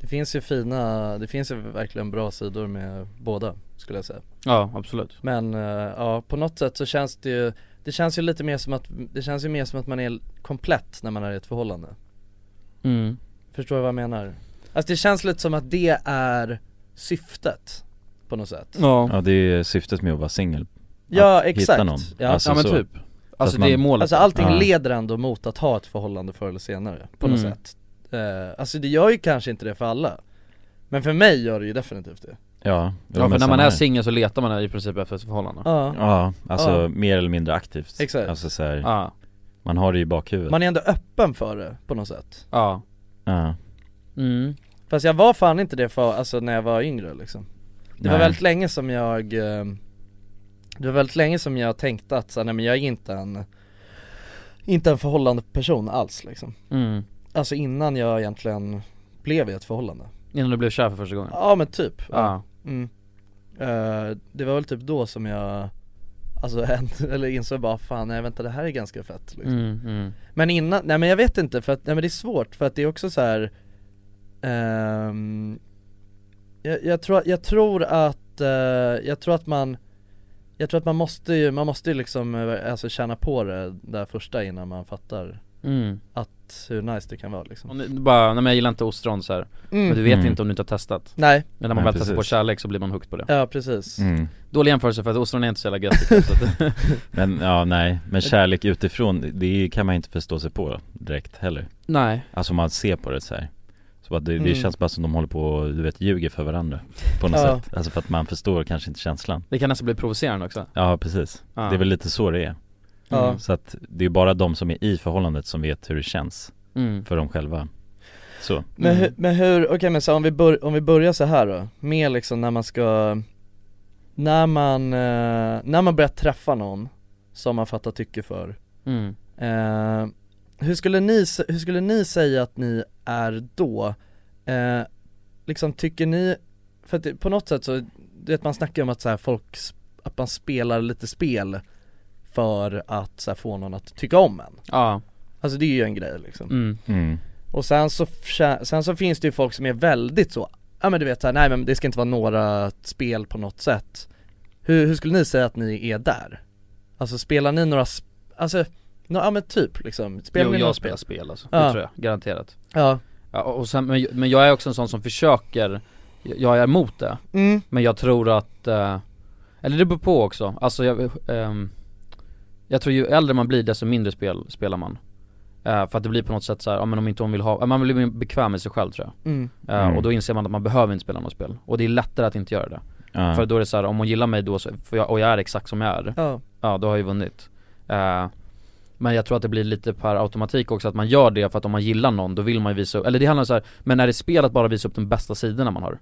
Speaker 4: Det finns ju fina, det finns ju verkligen bra sidor med båda skulle jag säga
Speaker 5: Ja absolut
Speaker 4: Men eh, ja, på något sätt så känns det ju Det känns ju lite mer som att, det känns ju mer som att man är komplett när man är i ett förhållande
Speaker 5: mm.
Speaker 4: Förstår du vad jag menar? Alltså det känns lite som att det är syftet på något sätt
Speaker 5: Ja,
Speaker 3: ja det är syftet med att vara singel
Speaker 4: Ja
Speaker 3: att hitta
Speaker 4: exakt,
Speaker 3: någon.
Speaker 4: ja
Speaker 3: Alltså,
Speaker 5: ja men
Speaker 3: så.
Speaker 5: typ Alltså
Speaker 3: att man-
Speaker 5: det är målet
Speaker 4: Alltså allting
Speaker 3: Ja.
Speaker 4: leder ändå mot att ha ett förhållande förr eller senare på något
Speaker 5: Mm.
Speaker 4: sätt Eh, Alltså det gör ju kanske inte det för alla Men för mig gör det ju definitivt det
Speaker 3: Ja,
Speaker 5: Ja för när man
Speaker 3: samma
Speaker 5: är
Speaker 3: här.
Speaker 5: singel så letar man i princip efter ett förhållande
Speaker 4: Ja,
Speaker 3: Ja, alltså
Speaker 4: Ja.
Speaker 3: mer eller mindre aktivt
Speaker 4: Exakt.
Speaker 3: Alltså så här,
Speaker 5: Ja,
Speaker 3: man har det i bakhuvudet
Speaker 4: man är ändå öppen för det på något sätt
Speaker 5: ja,
Speaker 3: ja.
Speaker 5: mm.
Speaker 4: Fast jag var fan inte det för, alltså när jag var yngre liksom Det var
Speaker 3: Nej.
Speaker 4: väldigt länge som jag eh, Det var väldigt länge som jag tänkte att så, här, nej men jag är inte en Inte en förhållande person alls liksom
Speaker 5: Mm.
Speaker 4: Alltså innan jag egentligen blev i ett förhållande
Speaker 5: Innan du blev kär för första gången?
Speaker 4: Ja men typ
Speaker 5: Ja,
Speaker 4: Mm. Eh, det var väl typ då som jag Alltså eller insåg bara fan nej vänta det här är ganska fett liksom.
Speaker 5: Mm, mm.
Speaker 4: Men innan, nej men jag vet inte för att, nej men det är svårt för att det är också så här. ehm, jag, jag, tror, jag tror att, eh, jag tror att man Jag tror att man måste ju, man måste ju liksom eh, alltså känna på det där första innan man fattar
Speaker 5: Mm.
Speaker 4: hur nice det kan vara liksom
Speaker 5: Och ni, bara, nej men jag gillar inte ostron så här. men du vet
Speaker 3: Mm.
Speaker 5: inte om du inte har testat
Speaker 4: Nej,
Speaker 5: Men när man
Speaker 3: Nej,
Speaker 5: väl testar
Speaker 3: precis.
Speaker 5: på kärlek så blir man hooked på det
Speaker 4: ja precis
Speaker 3: Mm.
Speaker 5: Dålig jämförelse för att ostron är inte så jävla gött tycker jag, så att-
Speaker 3: Men ja, nej, men kärlek utifrån, det kan man inte förstå sig på direkt heller
Speaker 5: Nej,
Speaker 3: Alltså om man ser på det så här. Så att det, det
Speaker 4: Mm.
Speaker 3: känns bara som de håller på och du vet ljuger för varandra På något
Speaker 4: Ja.
Speaker 3: sätt, alltså för att man förstår kanske inte känslan
Speaker 5: det kan nästan bli provocerande också
Speaker 3: Ja precis,
Speaker 5: Ja.
Speaker 3: det är väl lite så det är
Speaker 4: Ja.
Speaker 5: Mm.
Speaker 3: Så att det är bara de som är i förhållandet som vet hur det känns
Speaker 5: mm.
Speaker 3: för dem själva Så,
Speaker 4: Men,
Speaker 5: Mm.
Speaker 4: hur, men hur, okej men så om vi, bör, om vi börjar så här då, med liksom när man ska När man, eh, när man börjar träffa någon som man fattar tycke för
Speaker 5: Mm.
Speaker 4: eh, hur, skulle ni, s- hur skulle ni säga att ni är då? Eh, liksom tycker ni, för att det, på något sätt så, du vet man snackar ju om att så här folk, s- att man spelar lite spel för att så här, få någon att tycka om en
Speaker 5: Ja,
Speaker 4: Alltså det är ju en grej liksom
Speaker 5: mm.
Speaker 3: mm.
Speaker 4: och sen så, f- sen så finns det ju folk som är väldigt så, ja men du vet såhär, nej men det ska inte vara några spel på något sätt Hur, hur skulle ni säga att ni är där? Alltså spelar ni några, sp- alltså, nå- ja men typ liksom, spelar
Speaker 5: Jo,
Speaker 4: ni några
Speaker 5: jag
Speaker 4: spel?
Speaker 5: spelar spel alltså,
Speaker 4: Ja.
Speaker 5: det tror jag, garanterat
Speaker 4: Ja,
Speaker 5: ja, och och sen, men, men jag är också en sån som försöker, jag är emot det
Speaker 4: mm,
Speaker 5: Men jag tror att, eh, eller det beror på också, alltså jag, ehm, jag tror ju äldre man blir desto mindre spel spelar man Eh, För att det blir på något sätt så här, ja men om inte hon vill ha, ja, man blir bekväm med sig själv tror jag
Speaker 4: mm,
Speaker 5: Eh,
Speaker 3: Mm.
Speaker 5: Och då inser man att man behöver inte spela något spel, och det är lättare att inte göra det
Speaker 3: ja.
Speaker 5: För då är det så här, om hon gillar mig då, så, för jag, och jag är exakt som jag är,
Speaker 4: ja,
Speaker 5: ja då har jag ju vunnit Eh, Men jag tror att det blir lite per automatik också att man gör det för att om man gillar någon då vill man ju visa upp, eller det handlar om så här, men är det spel att bara visa upp de bästa sidorna man har?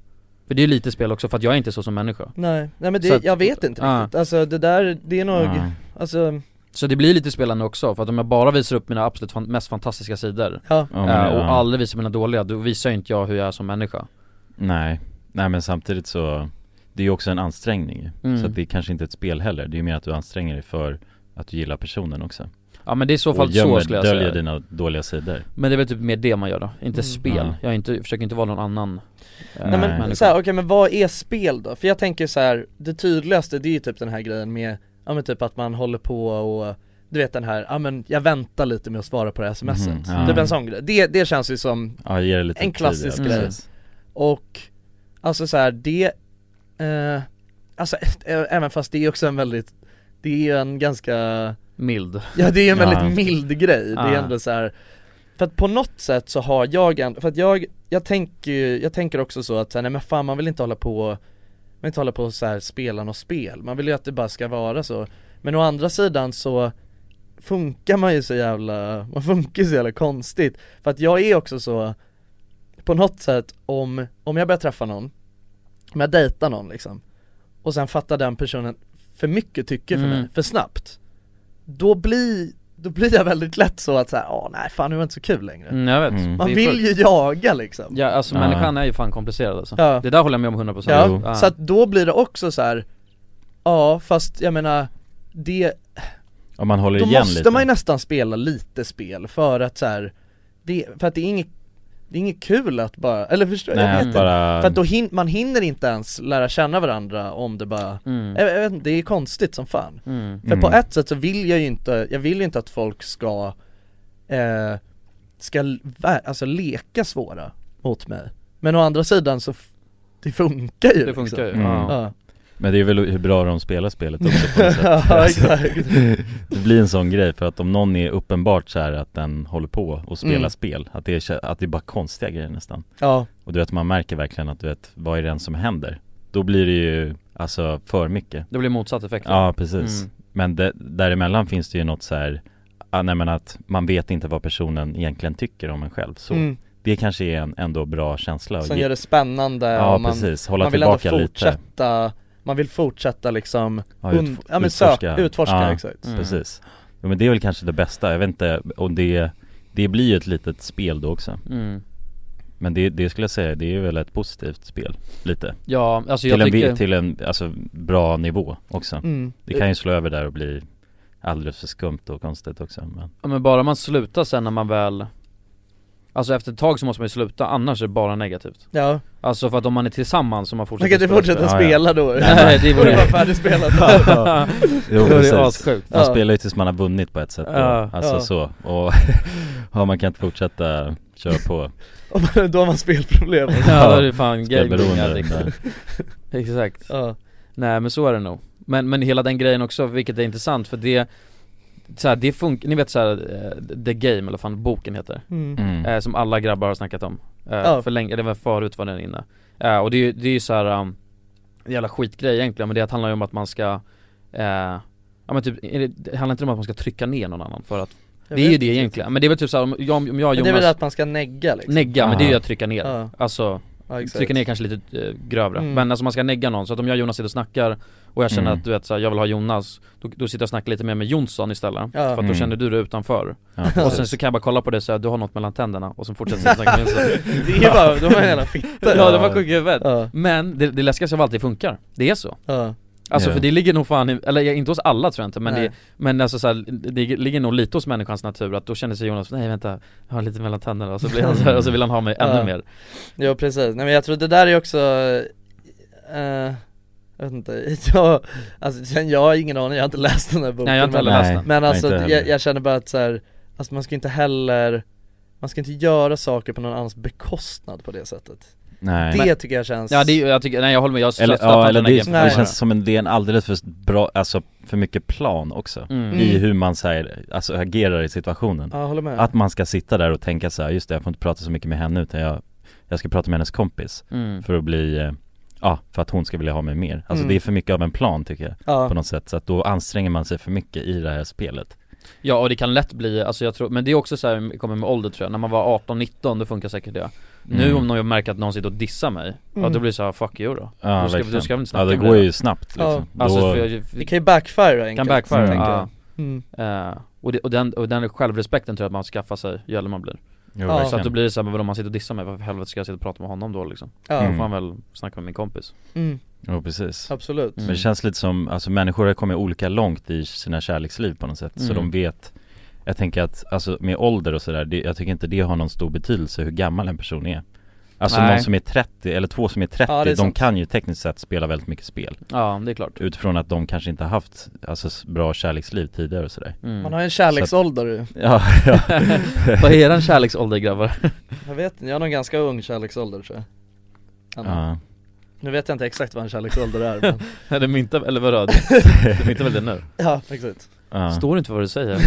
Speaker 5: För det är ju lite spel också, för att jag är inte så som människa
Speaker 4: Nej, nej men
Speaker 5: Så
Speaker 4: det,
Speaker 5: att-
Speaker 4: jag vet inte
Speaker 5: ah.
Speaker 4: riktigt, alltså det där, det är nog,
Speaker 3: Ja.
Speaker 4: alltså,
Speaker 5: Så det blir lite spelande också, för att om jag bara visar upp mina absolut fan, mest fantastiska sidor
Speaker 4: ja,
Speaker 3: Ja, men,
Speaker 5: eh, och
Speaker 3: ja.
Speaker 5: aldrig visar mina dåliga, då visar ju inte jag hur jag är som människa
Speaker 3: Nej, nej men samtidigt så Det är ju också en ansträngning ju.
Speaker 5: Mm.
Speaker 3: Så att det är kanske inte ett spel heller, det är ju mer att du anstränger dig för att du gillar personen också
Speaker 5: Ja men det är i så
Speaker 3: Och
Speaker 5: fall så
Speaker 3: gömmer-
Speaker 5: skulle jag
Speaker 3: döljer
Speaker 5: säga
Speaker 3: dina dåliga sidor
Speaker 5: Men det är väl typ mer det man gör då, inte
Speaker 4: Mm.
Speaker 5: spel.
Speaker 3: Ja.
Speaker 5: Jag, är inte, jag försöker inte vara någon annan eh,
Speaker 3: Nej. liksom-
Speaker 4: nej
Speaker 5: människa.
Speaker 4: men så här, okej men vad är spel då? För jag tänker så här, det tydligaste det är ju typ den här grejen med, ja men typ att man håller på och du vet den här, ja men jag väntar lite med att svara på det här smset
Speaker 3: Mhm, ja.
Speaker 4: Typ en sån grej, det, det känns ju som,
Speaker 3: Ja, ge det lite
Speaker 4: En
Speaker 3: tid,
Speaker 4: klassisk
Speaker 3: ja,
Speaker 5: grej.
Speaker 3: precis.
Speaker 4: och alltså så här, det, eh, alltså även fast det är också en väldigt, det är ju en ganska
Speaker 5: Mild.
Speaker 4: Ja det är en
Speaker 3: Ja.
Speaker 4: väldigt mild grej, det
Speaker 5: Ja.
Speaker 4: är ändå så här. För att på något sätt så har jag en, för att jag, jag tänker ju- jag tänker också så att så här, nej men fan man vill inte hålla på man vill inte hålla på och så här spela något spel, man vill ju att det bara ska vara så Men å andra sidan så funkar man ju så jävla, man funkar ju så jävla konstigt För att jag är också så, på något sätt om, om jag börjar träffa någon, om jag dejtar någon liksom Och sen fattar den personen för mycket tycke för
Speaker 5: Mm.
Speaker 4: mig, för snabbt Då blir, då blir jag väldigt lätt så att säga, ja nej fan nu var det inte så kul längre
Speaker 5: Mm, jag vet.
Speaker 3: Mm.
Speaker 5: Det
Speaker 4: Man
Speaker 5: är
Speaker 4: vill
Speaker 5: sjukt.
Speaker 4: ju jaga liksom
Speaker 5: Ja alltså
Speaker 3: Ja.
Speaker 5: människan är ju fan komplicerad alltså.
Speaker 4: Ja.
Speaker 5: Det där håller jag med om 100%
Speaker 4: Ja,
Speaker 5: Ja.
Speaker 4: så att då blir det också så här. Ja fast jag menar det,
Speaker 3: Om man håller
Speaker 4: då
Speaker 3: igen
Speaker 4: måste
Speaker 3: lite
Speaker 4: man ju nästan spela lite spel för att så här, det, för att det är inget, det är inget kul att bara, eller förstår jag vet
Speaker 3: Nej,
Speaker 4: inte
Speaker 3: bara
Speaker 4: För att då hin, man hinner inte ens lära känna varandra om det bara,
Speaker 5: mm.
Speaker 4: jag, jag vet inte, det är konstigt som fan
Speaker 5: Mm.
Speaker 4: För på
Speaker 3: Mm.
Speaker 4: ett sätt så vill jag ju inte, jag vill ju inte att folk ska, eh, ska l- vä- alltså leka svåra mot mig Men å andra sidan så, f- det funkar ju liksom.
Speaker 5: Det funkar ju.
Speaker 3: Mm.
Speaker 5: Ja.
Speaker 4: Ja,
Speaker 3: Men det är väl hur bra de spelar spelet också på något sätt Alltså,
Speaker 4: ja exakt
Speaker 3: Det blir en sån grej för att om någon är uppenbart så här att den håller på och spelar
Speaker 4: Mm.
Speaker 3: spel Att det, är, kä- att det är bara konstiga grejer nästan
Speaker 4: Ja,
Speaker 3: Och du vet man märker verkligen att du vet, vad är det ens som händer? Då blir det ju alltså för mycket
Speaker 5: Det blir motsatt effekt.
Speaker 3: Ja precis
Speaker 5: Mm.
Speaker 3: Men det, däremellan finns det ju något så här ah, Nej men att man vet inte vad personen egentligen tycker om en själv så
Speaker 4: mm.
Speaker 3: Det kanske är en ändå bra känsla att
Speaker 4: som
Speaker 3: ge-
Speaker 4: gör det spännande
Speaker 3: Ja
Speaker 4: och man,
Speaker 3: precis, hålla
Speaker 4: man vill ändå
Speaker 3: tillbaka lite
Speaker 4: fortsätta Man vill fortsätta liksom,
Speaker 3: ja,
Speaker 4: und-
Speaker 3: utf-
Speaker 4: ja men söka, utforska
Speaker 3: Ja,
Speaker 4: exakt
Speaker 5: Mm.
Speaker 3: Precis ja, men det är väl kanske det bästa, jag vet inte om det Det blir ju ett litet spel då också
Speaker 5: Mm.
Speaker 3: Men det, det skulle jag säga, det är väl ett positivt spel, lite
Speaker 5: Ja, alltså
Speaker 3: till
Speaker 5: jag
Speaker 3: en, vi-
Speaker 5: tycker...
Speaker 3: till en, alltså bra nivå också
Speaker 4: mm.
Speaker 3: Det kan ju slå över där och bli alldeles för skumt och konstigt också men,
Speaker 5: Ja, men bara man slutar sen när man väl... Alltså efter ett tag så måste man ju sluta, annars är det bara negativt.
Speaker 4: Ja,
Speaker 5: Alltså för att om man är tillsammans och man
Speaker 4: man
Speaker 5: fortsätter
Speaker 4: kan inte
Speaker 5: spela
Speaker 4: fortsätta
Speaker 3: Ja, ja.
Speaker 4: spela då
Speaker 5: Nej, det
Speaker 4: Då är
Speaker 5: vore-
Speaker 4: det bara färdigspelat
Speaker 3: Jo
Speaker 5: spel. Det
Speaker 3: precis,
Speaker 5: är assjukt.
Speaker 3: man
Speaker 4: Ja.
Speaker 3: spelar ju tills man har vunnit på ett sätt då.
Speaker 5: Ja,
Speaker 3: alltså
Speaker 4: ja.
Speaker 3: så och ja, man kan inte fortsätta köra på
Speaker 4: Och då har man spelproblem
Speaker 5: Ja, då är det fan gaming
Speaker 3: spelberoende
Speaker 5: addict.
Speaker 3: där.
Speaker 5: Exakt.
Speaker 4: Ja,
Speaker 5: Nej men så är det nog Men, men hela den grejen också, vilket är intressant för det så här, det funkar, ni vet såhär, eh, The Game eller vad fan boken heter
Speaker 4: mm.
Speaker 3: mm.
Speaker 5: eh, Som alla grabbar har snackat om eh,
Speaker 4: Ja.
Speaker 5: För länge, det var förut var den inne eh, Och det är ju, det är ju såhär, um, en jävla skitgrej egentligen men det handlar ju om att man ska eh, Ja men typ, är det, det handlar inte om att man ska trycka ner någon annan för att
Speaker 4: Jag
Speaker 5: Det är ju
Speaker 4: vet
Speaker 5: det
Speaker 4: inte.
Speaker 5: egentligen, men det är väl typ såhär om jag, om jag och
Speaker 4: Men Det är
Speaker 5: Jonas
Speaker 4: väl att man ska negga liksom
Speaker 5: Negga, men det är ju
Speaker 3: Aha.
Speaker 5: att trycka ner
Speaker 4: Ja.
Speaker 5: Alltså
Speaker 4: ja, exakt.
Speaker 5: trycka ner kanske lite eh, grövre,
Speaker 4: Mm.
Speaker 5: men alltså man ska negga någon så att om jag och Jonas sitter och snackar och jag känner
Speaker 3: Mm.
Speaker 5: att du vet så här, jag vill ha Jonas, då, då sitter jag och snackar lite mer med Jonsson istället
Speaker 4: Ja.
Speaker 5: För att då
Speaker 3: Mm.
Speaker 5: känner du dig utanför
Speaker 3: ja,
Speaker 5: Och sen
Speaker 3: precis.
Speaker 5: så kan jag bara kolla på dig och säga du har något mellan tänderna och sen fortsätter jag snacka med Jonsson
Speaker 4: Det är ju bara, de är en jävla fitta
Speaker 5: Ja det var sjukt i huvudet
Speaker 4: ja,
Speaker 5: Men det, det läskigaste av allt, det funkar, det är så
Speaker 4: ja,
Speaker 5: Alltså
Speaker 3: Ja.
Speaker 5: för det ligger nog fan, i, eller ja, inte hos alla tror jag inte men
Speaker 4: Nej.
Speaker 5: det, men alltså så här, det ligger nog lite hos människans natur att då känner sig Jonas, nej vänta, jag har lite mellan tänderna och så blir han så här, och så vill han ha mig ännu
Speaker 4: Ja.
Speaker 5: mer
Speaker 4: ja precis, nej men jag tror det där är också eh, Jag vet inte, jag, alltså sen jag har ingen aning, jag har inte läst den här boken
Speaker 5: Nej jag har inte
Speaker 4: men-
Speaker 5: heller läst den
Speaker 4: Men
Speaker 3: Nej,
Speaker 4: alltså
Speaker 3: inte
Speaker 4: jag,
Speaker 3: heller.
Speaker 4: jag känner bara att så här, alltså man ska inte heller man ska inte göra saker på någon annans bekostnad på det sättet
Speaker 3: Nej.
Speaker 4: Det tycker jag känns
Speaker 5: Ja det är, jag tycker, nej jag håller med, jag har
Speaker 3: Eller, ja, eller det,
Speaker 4: Nej.
Speaker 3: det känns som en, det är en alldeles för bra, alltså för mycket plan också
Speaker 5: mm.
Speaker 3: I hur man så här, alltså agerar i situationen
Speaker 4: Ja, jag håller med
Speaker 3: Att man ska sitta där och tänka så här, just det jag får inte prata så mycket med henne utan jag, jag ska prata med hennes kompis
Speaker 5: Mm.
Speaker 3: För att bli, eh, ja, för att hon ska vilja ha mig mer Alltså
Speaker 4: Mm.
Speaker 3: det är för mycket av en plan tycker jag
Speaker 4: ja.
Speaker 3: på något sätt Så att då anstränger man sig för mycket i det här spelet
Speaker 5: Ja och det kan lätt bli, alltså jag tror, men det är också så här, kommer med ålder tror jag, när man var 18-19 då funkar säkert det Nu
Speaker 3: Mm.
Speaker 5: om någon märker att någon sitter och dissar mig, ja då blir det så här, fuck you då
Speaker 3: Mm. Ja,
Speaker 5: då, ska,
Speaker 3: verkligen.
Speaker 5: då ska jag väl inte snacka
Speaker 3: Ja det
Speaker 5: med
Speaker 3: går
Speaker 5: dig
Speaker 3: ju snabbt
Speaker 4: Ja.
Speaker 3: liksom.
Speaker 5: då. Alltså
Speaker 3: Då-
Speaker 5: för jag, för,
Speaker 4: Det kan ju backfire enkelt
Speaker 5: kan backfire,
Speaker 3: tänker
Speaker 5: ja.
Speaker 4: mm.
Speaker 5: Eh, och, det, och, den, och den självrespekten tror jag att man skaffar sig ju äldre man blir
Speaker 3: jo,
Speaker 4: Ja.
Speaker 5: Så att då
Speaker 3: verkligen.
Speaker 5: blir det så här, men vadå, om man sitter och dissar mig, varför i helvete ska jag sitta och prata med honom då liksom?
Speaker 4: Ja,
Speaker 5: Då
Speaker 4: mm.
Speaker 3: Mm.
Speaker 5: får han väl snacka med min kompis
Speaker 3: Jo, precis
Speaker 4: absolut
Speaker 5: Mm.
Speaker 3: Men det känns lite som, alltså människor har kommit olika långt i sina kärleksliv på något sätt Så
Speaker 5: Mm.
Speaker 3: de vet Jag tänker att, alltså med ålder och sådär, det- jag tycker inte det har någon stor betydelse hur gammal en person är Alltså
Speaker 5: Nej.
Speaker 3: någon som är 30, eller två som är 30,
Speaker 4: Ja, det är
Speaker 3: de
Speaker 4: sant.
Speaker 3: kan ju tekniskt sett spela väldigt mycket spel
Speaker 5: Ja det är klart
Speaker 3: Utifrån att de kanske inte har haft, alltså s- bra kärleksliv tidigare och sådär
Speaker 5: mm.
Speaker 4: Man har ju en kärleksålder ju
Speaker 3: Ja, ja,
Speaker 5: Vad är eran kärleksålder grabbar?
Speaker 4: Jag vet inte, jag har någon ganska ung kärleksålder tror jag Anna.
Speaker 3: ja.
Speaker 4: Nu vet jag inte exakt vad en kärleksålder är men
Speaker 5: Är det mynta, eller vadå? Du myntar väl det nu?
Speaker 4: Ja, exakt
Speaker 3: ja.
Speaker 5: Står du inte för vad du säger?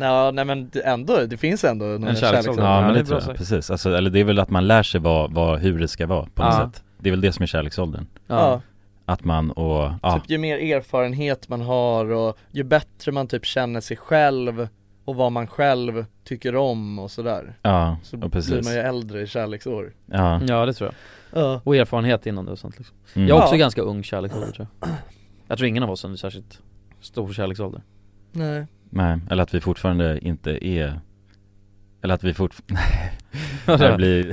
Speaker 4: Ja, nej men det, ändå, det finns ändå någon
Speaker 5: En kärleksålder.
Speaker 3: Ja,
Speaker 5: Ja,
Speaker 3: men
Speaker 5: det är
Speaker 3: det,
Speaker 5: bra
Speaker 3: tror jag,
Speaker 5: sagt.
Speaker 3: precis. Alltså, eller det är väl att man lär sig vad, vad, hur det ska vara på något
Speaker 5: Ja.
Speaker 3: sätt Det är väl det som är kärleksåldern
Speaker 4: Ja,
Speaker 3: Att man och, ja,
Speaker 4: typ ju mer erfarenhet man har och ju bättre man typ känner sig själv och vad man själv tycker om och sådär
Speaker 3: ja,
Speaker 4: Så
Speaker 3: och
Speaker 4: blir
Speaker 3: precis
Speaker 4: man ju äldre i kärleksår
Speaker 3: Ja,
Speaker 5: Ja det tror jag.
Speaker 4: Ja,
Speaker 5: Och erfarenhet innan det och sånt liksom.
Speaker 3: mm.
Speaker 5: Jag är också
Speaker 4: Ja.
Speaker 5: ganska ung kärleksålder tror jag Jag tror ingen av oss är särskilt stor kärleksålder
Speaker 4: nej
Speaker 3: nej, eller att vi fortfarande inte är Eller att vi fortfarande, det blir,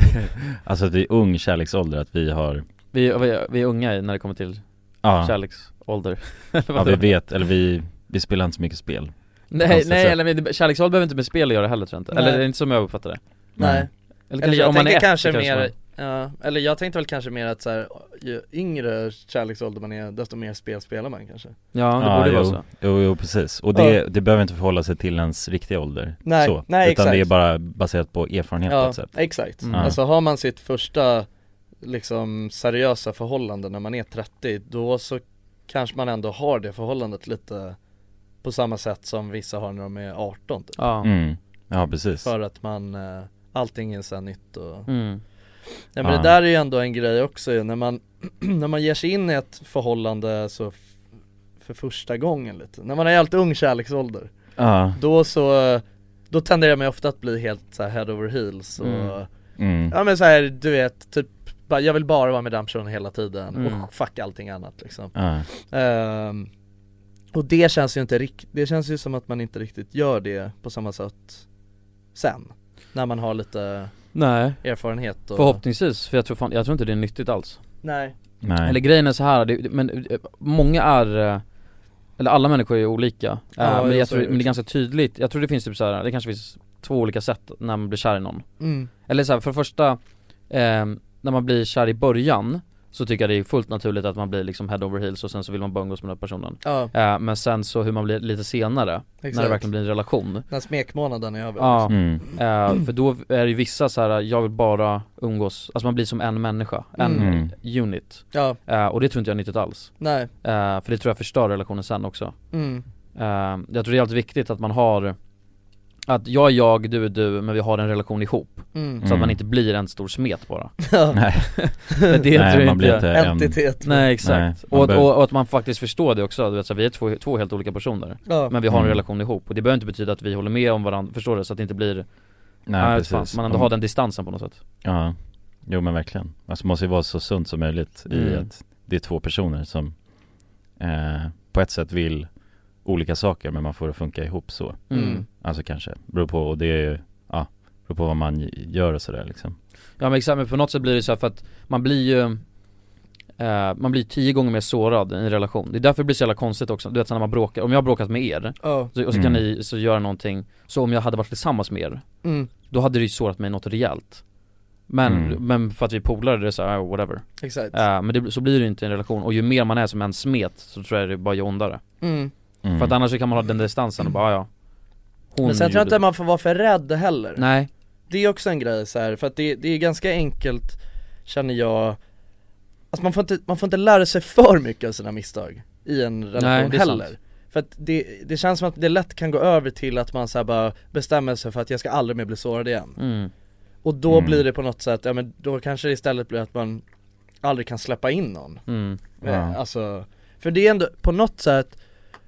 Speaker 3: alltså att vi är ung kärleksålder, att vi har,
Speaker 5: vi, vi, vi är unga i- när det kommer till
Speaker 3: ja,
Speaker 5: kärleksålder
Speaker 3: ja vi vet, eller vi, vi spelar inte så mycket spel
Speaker 5: Nej,
Speaker 3: konstigt
Speaker 5: nej
Speaker 3: sätt.
Speaker 5: eller men det- kärleksålder behöver inte med spel att göra heller tror jag inte.
Speaker 4: Nej.
Speaker 5: Eller det är inte som jag uppfattar det
Speaker 4: Nej,
Speaker 5: Eller,
Speaker 4: eller
Speaker 5: kanske
Speaker 4: jag
Speaker 5: om man är
Speaker 4: tänker
Speaker 5: ett,
Speaker 4: kanske
Speaker 5: så
Speaker 4: mer,
Speaker 5: man-
Speaker 4: ja, eller jag tänkte väl kanske mer att så här, ju yngre kärleksålder man är desto mer spel spelar man kanske
Speaker 5: Ja det
Speaker 3: Ja,
Speaker 5: borde vara
Speaker 3: jo.
Speaker 5: så
Speaker 3: Jo, jo precis, och det, det behöver inte förhålla sig till ens riktiga ålder
Speaker 4: Nej,
Speaker 3: så,
Speaker 4: nej,
Speaker 3: Utan
Speaker 4: exakt.
Speaker 3: det är bara baserat på erfarenhet på
Speaker 4: Ja,
Speaker 3: ett sätt
Speaker 4: exakt.
Speaker 5: Mm.
Speaker 4: Alltså har man sitt första liksom seriösa förhållande när man är 30 då så kanske man ändå har det förhållandet lite på samma sätt som vissa har när de är 18 typ.
Speaker 5: Ja
Speaker 3: mm. Ja precis
Speaker 4: För att man, eh, allting är så här nytt och
Speaker 5: mm.
Speaker 4: Nej men
Speaker 3: Ja.
Speaker 4: det där är ju ändå en grej också ju, när man, när man ger sig in i ett förhållande så f- för första gången lite, när man är helt ung kärleksålder
Speaker 3: Ja,
Speaker 4: Då så, eh, då tenderar man ju ofta att bli helt så här head over heels och
Speaker 5: Mm.
Speaker 3: mm.
Speaker 4: Ja men så här, du vet, typ bara, jag vill bara vara med den personen hela tiden
Speaker 5: Mm.
Speaker 4: och fuck allting annat liksom
Speaker 3: ja.
Speaker 4: Ehm, Och det känns ju inte riktigt, det känns ju som att man inte riktigt gör det på samma sätt sen När man har lite
Speaker 5: Nej
Speaker 4: erfarenhet och
Speaker 5: Förhoppningsvis, för jag tror fan, jag tror inte det är nyttigt alls
Speaker 4: Nej,
Speaker 3: nej
Speaker 5: Eller grejen är så här, det, det- men eh, många är eh, eller alla människor är olika, Eh,
Speaker 4: Ja,
Speaker 5: men
Speaker 4: jag
Speaker 5: jag
Speaker 4: ser
Speaker 5: tror,
Speaker 4: det.
Speaker 5: men det är ganska tydligt, jag tror det finns typ så här, det kanske finns två olika sätt när man blir kär i någon
Speaker 4: mm.
Speaker 5: Eller så här, för det första, eh, när man blir kär i början så tycker jag det är fullt naturligt att man blir liksom head over heels och sen så vill man bara umgås med den här personen
Speaker 4: ja
Speaker 5: eh, Men sen så hur man blir lite senare,
Speaker 4: exakt
Speaker 5: när det verkligen blir en relation
Speaker 4: När smekmånaden är över
Speaker 5: Ja,
Speaker 3: mm.
Speaker 5: eh, för då är det ju vissa så här, jag vill bara umgås, alltså man blir som en människa, en
Speaker 3: Mm.
Speaker 5: unit
Speaker 4: Ja,
Speaker 5: eh, Och det tror inte jag är nyttigt alls
Speaker 4: nej,
Speaker 5: Eh, för det tror jag förstör relationen sen också.
Speaker 4: mm,
Speaker 5: Eh, jag tror det är alltid viktigt att man har att jag är jag, du är du, men vi har en relation ihop.
Speaker 4: mm,
Speaker 5: Så att
Speaker 3: Mm.
Speaker 5: man inte blir en stor smet bara.
Speaker 4: ja,
Speaker 3: Nej,
Speaker 5: Det
Speaker 3: nej man blir inte en,
Speaker 4: entitet
Speaker 5: Nej exakt.
Speaker 3: Nej, man
Speaker 5: och, att-
Speaker 3: behöver-
Speaker 5: och, och att man faktiskt förstår det också, du vet, så här, vi är två, två helt olika personer.
Speaker 4: ja.
Speaker 5: Men vi har en
Speaker 3: Mm.
Speaker 5: relation ihop. Och det behöver inte betyda att vi håller med om varandra, förstår du? Så att det inte blir,
Speaker 3: nej
Speaker 5: nej,
Speaker 3: precis Mm.
Speaker 5: fan, man ändå har den distansen på något sätt.
Speaker 3: Ja, jo men verkligen Alltså måste ju vara så sunt som möjligt i
Speaker 5: Mm.
Speaker 3: att det är två personer som eh, på ett sätt vill olika saker men man får det att funka ihop så
Speaker 4: Mm.
Speaker 3: Alltså kanske, beror på och det är ju, ja, beror på vad man gör och sådär liksom
Speaker 5: Ja men exakt, men på något sätt blir det så här för att man blir ju eh, Man blir tio gånger mer sårad i en relation Det är därför det blir så jävla konstigt också, du vet så när man bråkar, om jag har bråkat med er
Speaker 4: Ja,
Speaker 5: så, och så kan
Speaker 3: Mm.
Speaker 5: ni så göra någonting, så om jag hade varit tillsammans med er
Speaker 4: mm,
Speaker 5: Då hade det ju sårat mig något rejält Men,
Speaker 3: Mm.
Speaker 5: men för att vi är polare, det är såhär, whatever
Speaker 4: exakt
Speaker 5: Eh, Men det, så blir det ju inte i en relation, och ju mer man är som en smet så tror jag det bara gör ondare
Speaker 4: mm.
Speaker 3: mm.
Speaker 5: För att annars så kan man ha den distansen och bara, "Ah, ja Hon
Speaker 4: Men sen tror jag
Speaker 5: gjorde-"
Speaker 4: inte man får vara för rädd heller
Speaker 5: Nej,
Speaker 4: Det är också en grej så här, för att det, det är ganska enkelt känner jag Alltså man får inte, man får inte lära sig för mycket av sina misstag i en relation
Speaker 5: det är sant.
Speaker 4: heller För att det, det känns som att det lätt kan gå över till att man så här bara bestämmer sig för att jag ska aldrig mer bli sårad igen
Speaker 5: mm.
Speaker 4: Och då
Speaker 3: Mm.
Speaker 4: blir det på något sätt, ja men då kanske det istället blir att man aldrig kan släppa in någon
Speaker 5: Mm.
Speaker 3: Ja.
Speaker 4: Eh, Alltså, för det är ändå på något sätt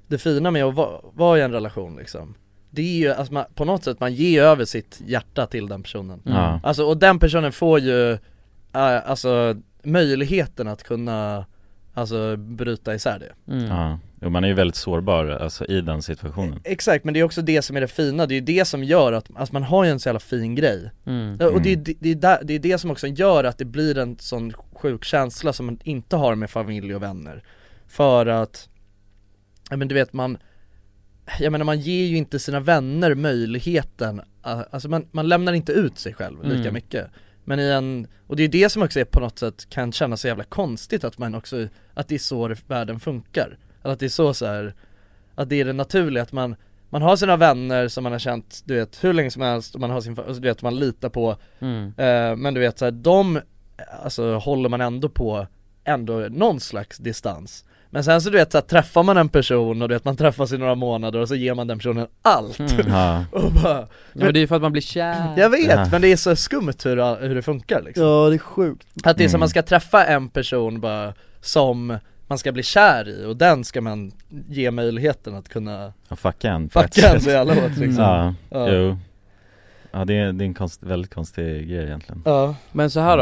Speaker 4: det fina med att va- vara i en relation liksom det är ju, alltså man, på något sätt, man ger över sitt hjärta till den personen
Speaker 3: Ja.
Speaker 4: Alltså och den personen får ju, eh, alltså möjligheten att kunna, alltså bryta isär det
Speaker 5: Mm.
Speaker 3: Ja, Jo, man är ju väldigt sårbar alltså i den situationen
Speaker 4: Exakt, men det är också det som är det fina, det är ju det som gör att, alltså man har ju en så jävla fin grej
Speaker 5: Mm.
Speaker 4: Ja, Och det är, det, det, är där, det är det som också gör att det blir en sån sjuk känsla som man inte har med familj och vänner För att, ja men du vet man Jag menar man ger ju inte sina vänner möjligheten, a- alltså man, man lämnar inte ut sig själv lika
Speaker 5: Mm.
Speaker 4: mycket Men i en, och det är det som också är på något sätt kan kännas så jävla konstigt att man också, att det är så det- världen funkar Eller att det är så, så här att det är det naturliga att man man har sina vänner som man har känt, du vet, hur länge som helst och man har sin, fa- alltså, du vet, man litar på
Speaker 5: Mm.
Speaker 4: Eh, Men du vet så här, de alltså, håller man ändå på ändå någon slags distans Men sen så du vet så här, träffar man en person och du vet man träffas i några månader och så ger man den personen allt
Speaker 5: Mm.
Speaker 3: Ja,
Speaker 4: och bara,
Speaker 5: Ja, men det är ju för att man blir kär
Speaker 4: Jag vet
Speaker 3: Ja.
Speaker 4: men det är så skumt hur, hur det funkar liksom
Speaker 1: Ja, det är sjukt.
Speaker 4: Att det är som
Speaker 3: Mm.
Speaker 4: man ska träffa en person bara som man ska bli kär i och den ska man ge möjligheten att kunna
Speaker 3: ja fucka en på ett
Speaker 4: fucka en
Speaker 3: sätt.
Speaker 4: så jävla hårt liksom
Speaker 3: Ja,
Speaker 4: Ja.
Speaker 3: jo Ja det är, det är en konst, väldigt konstig grej egentligen
Speaker 4: Ja.
Speaker 5: Men så här då,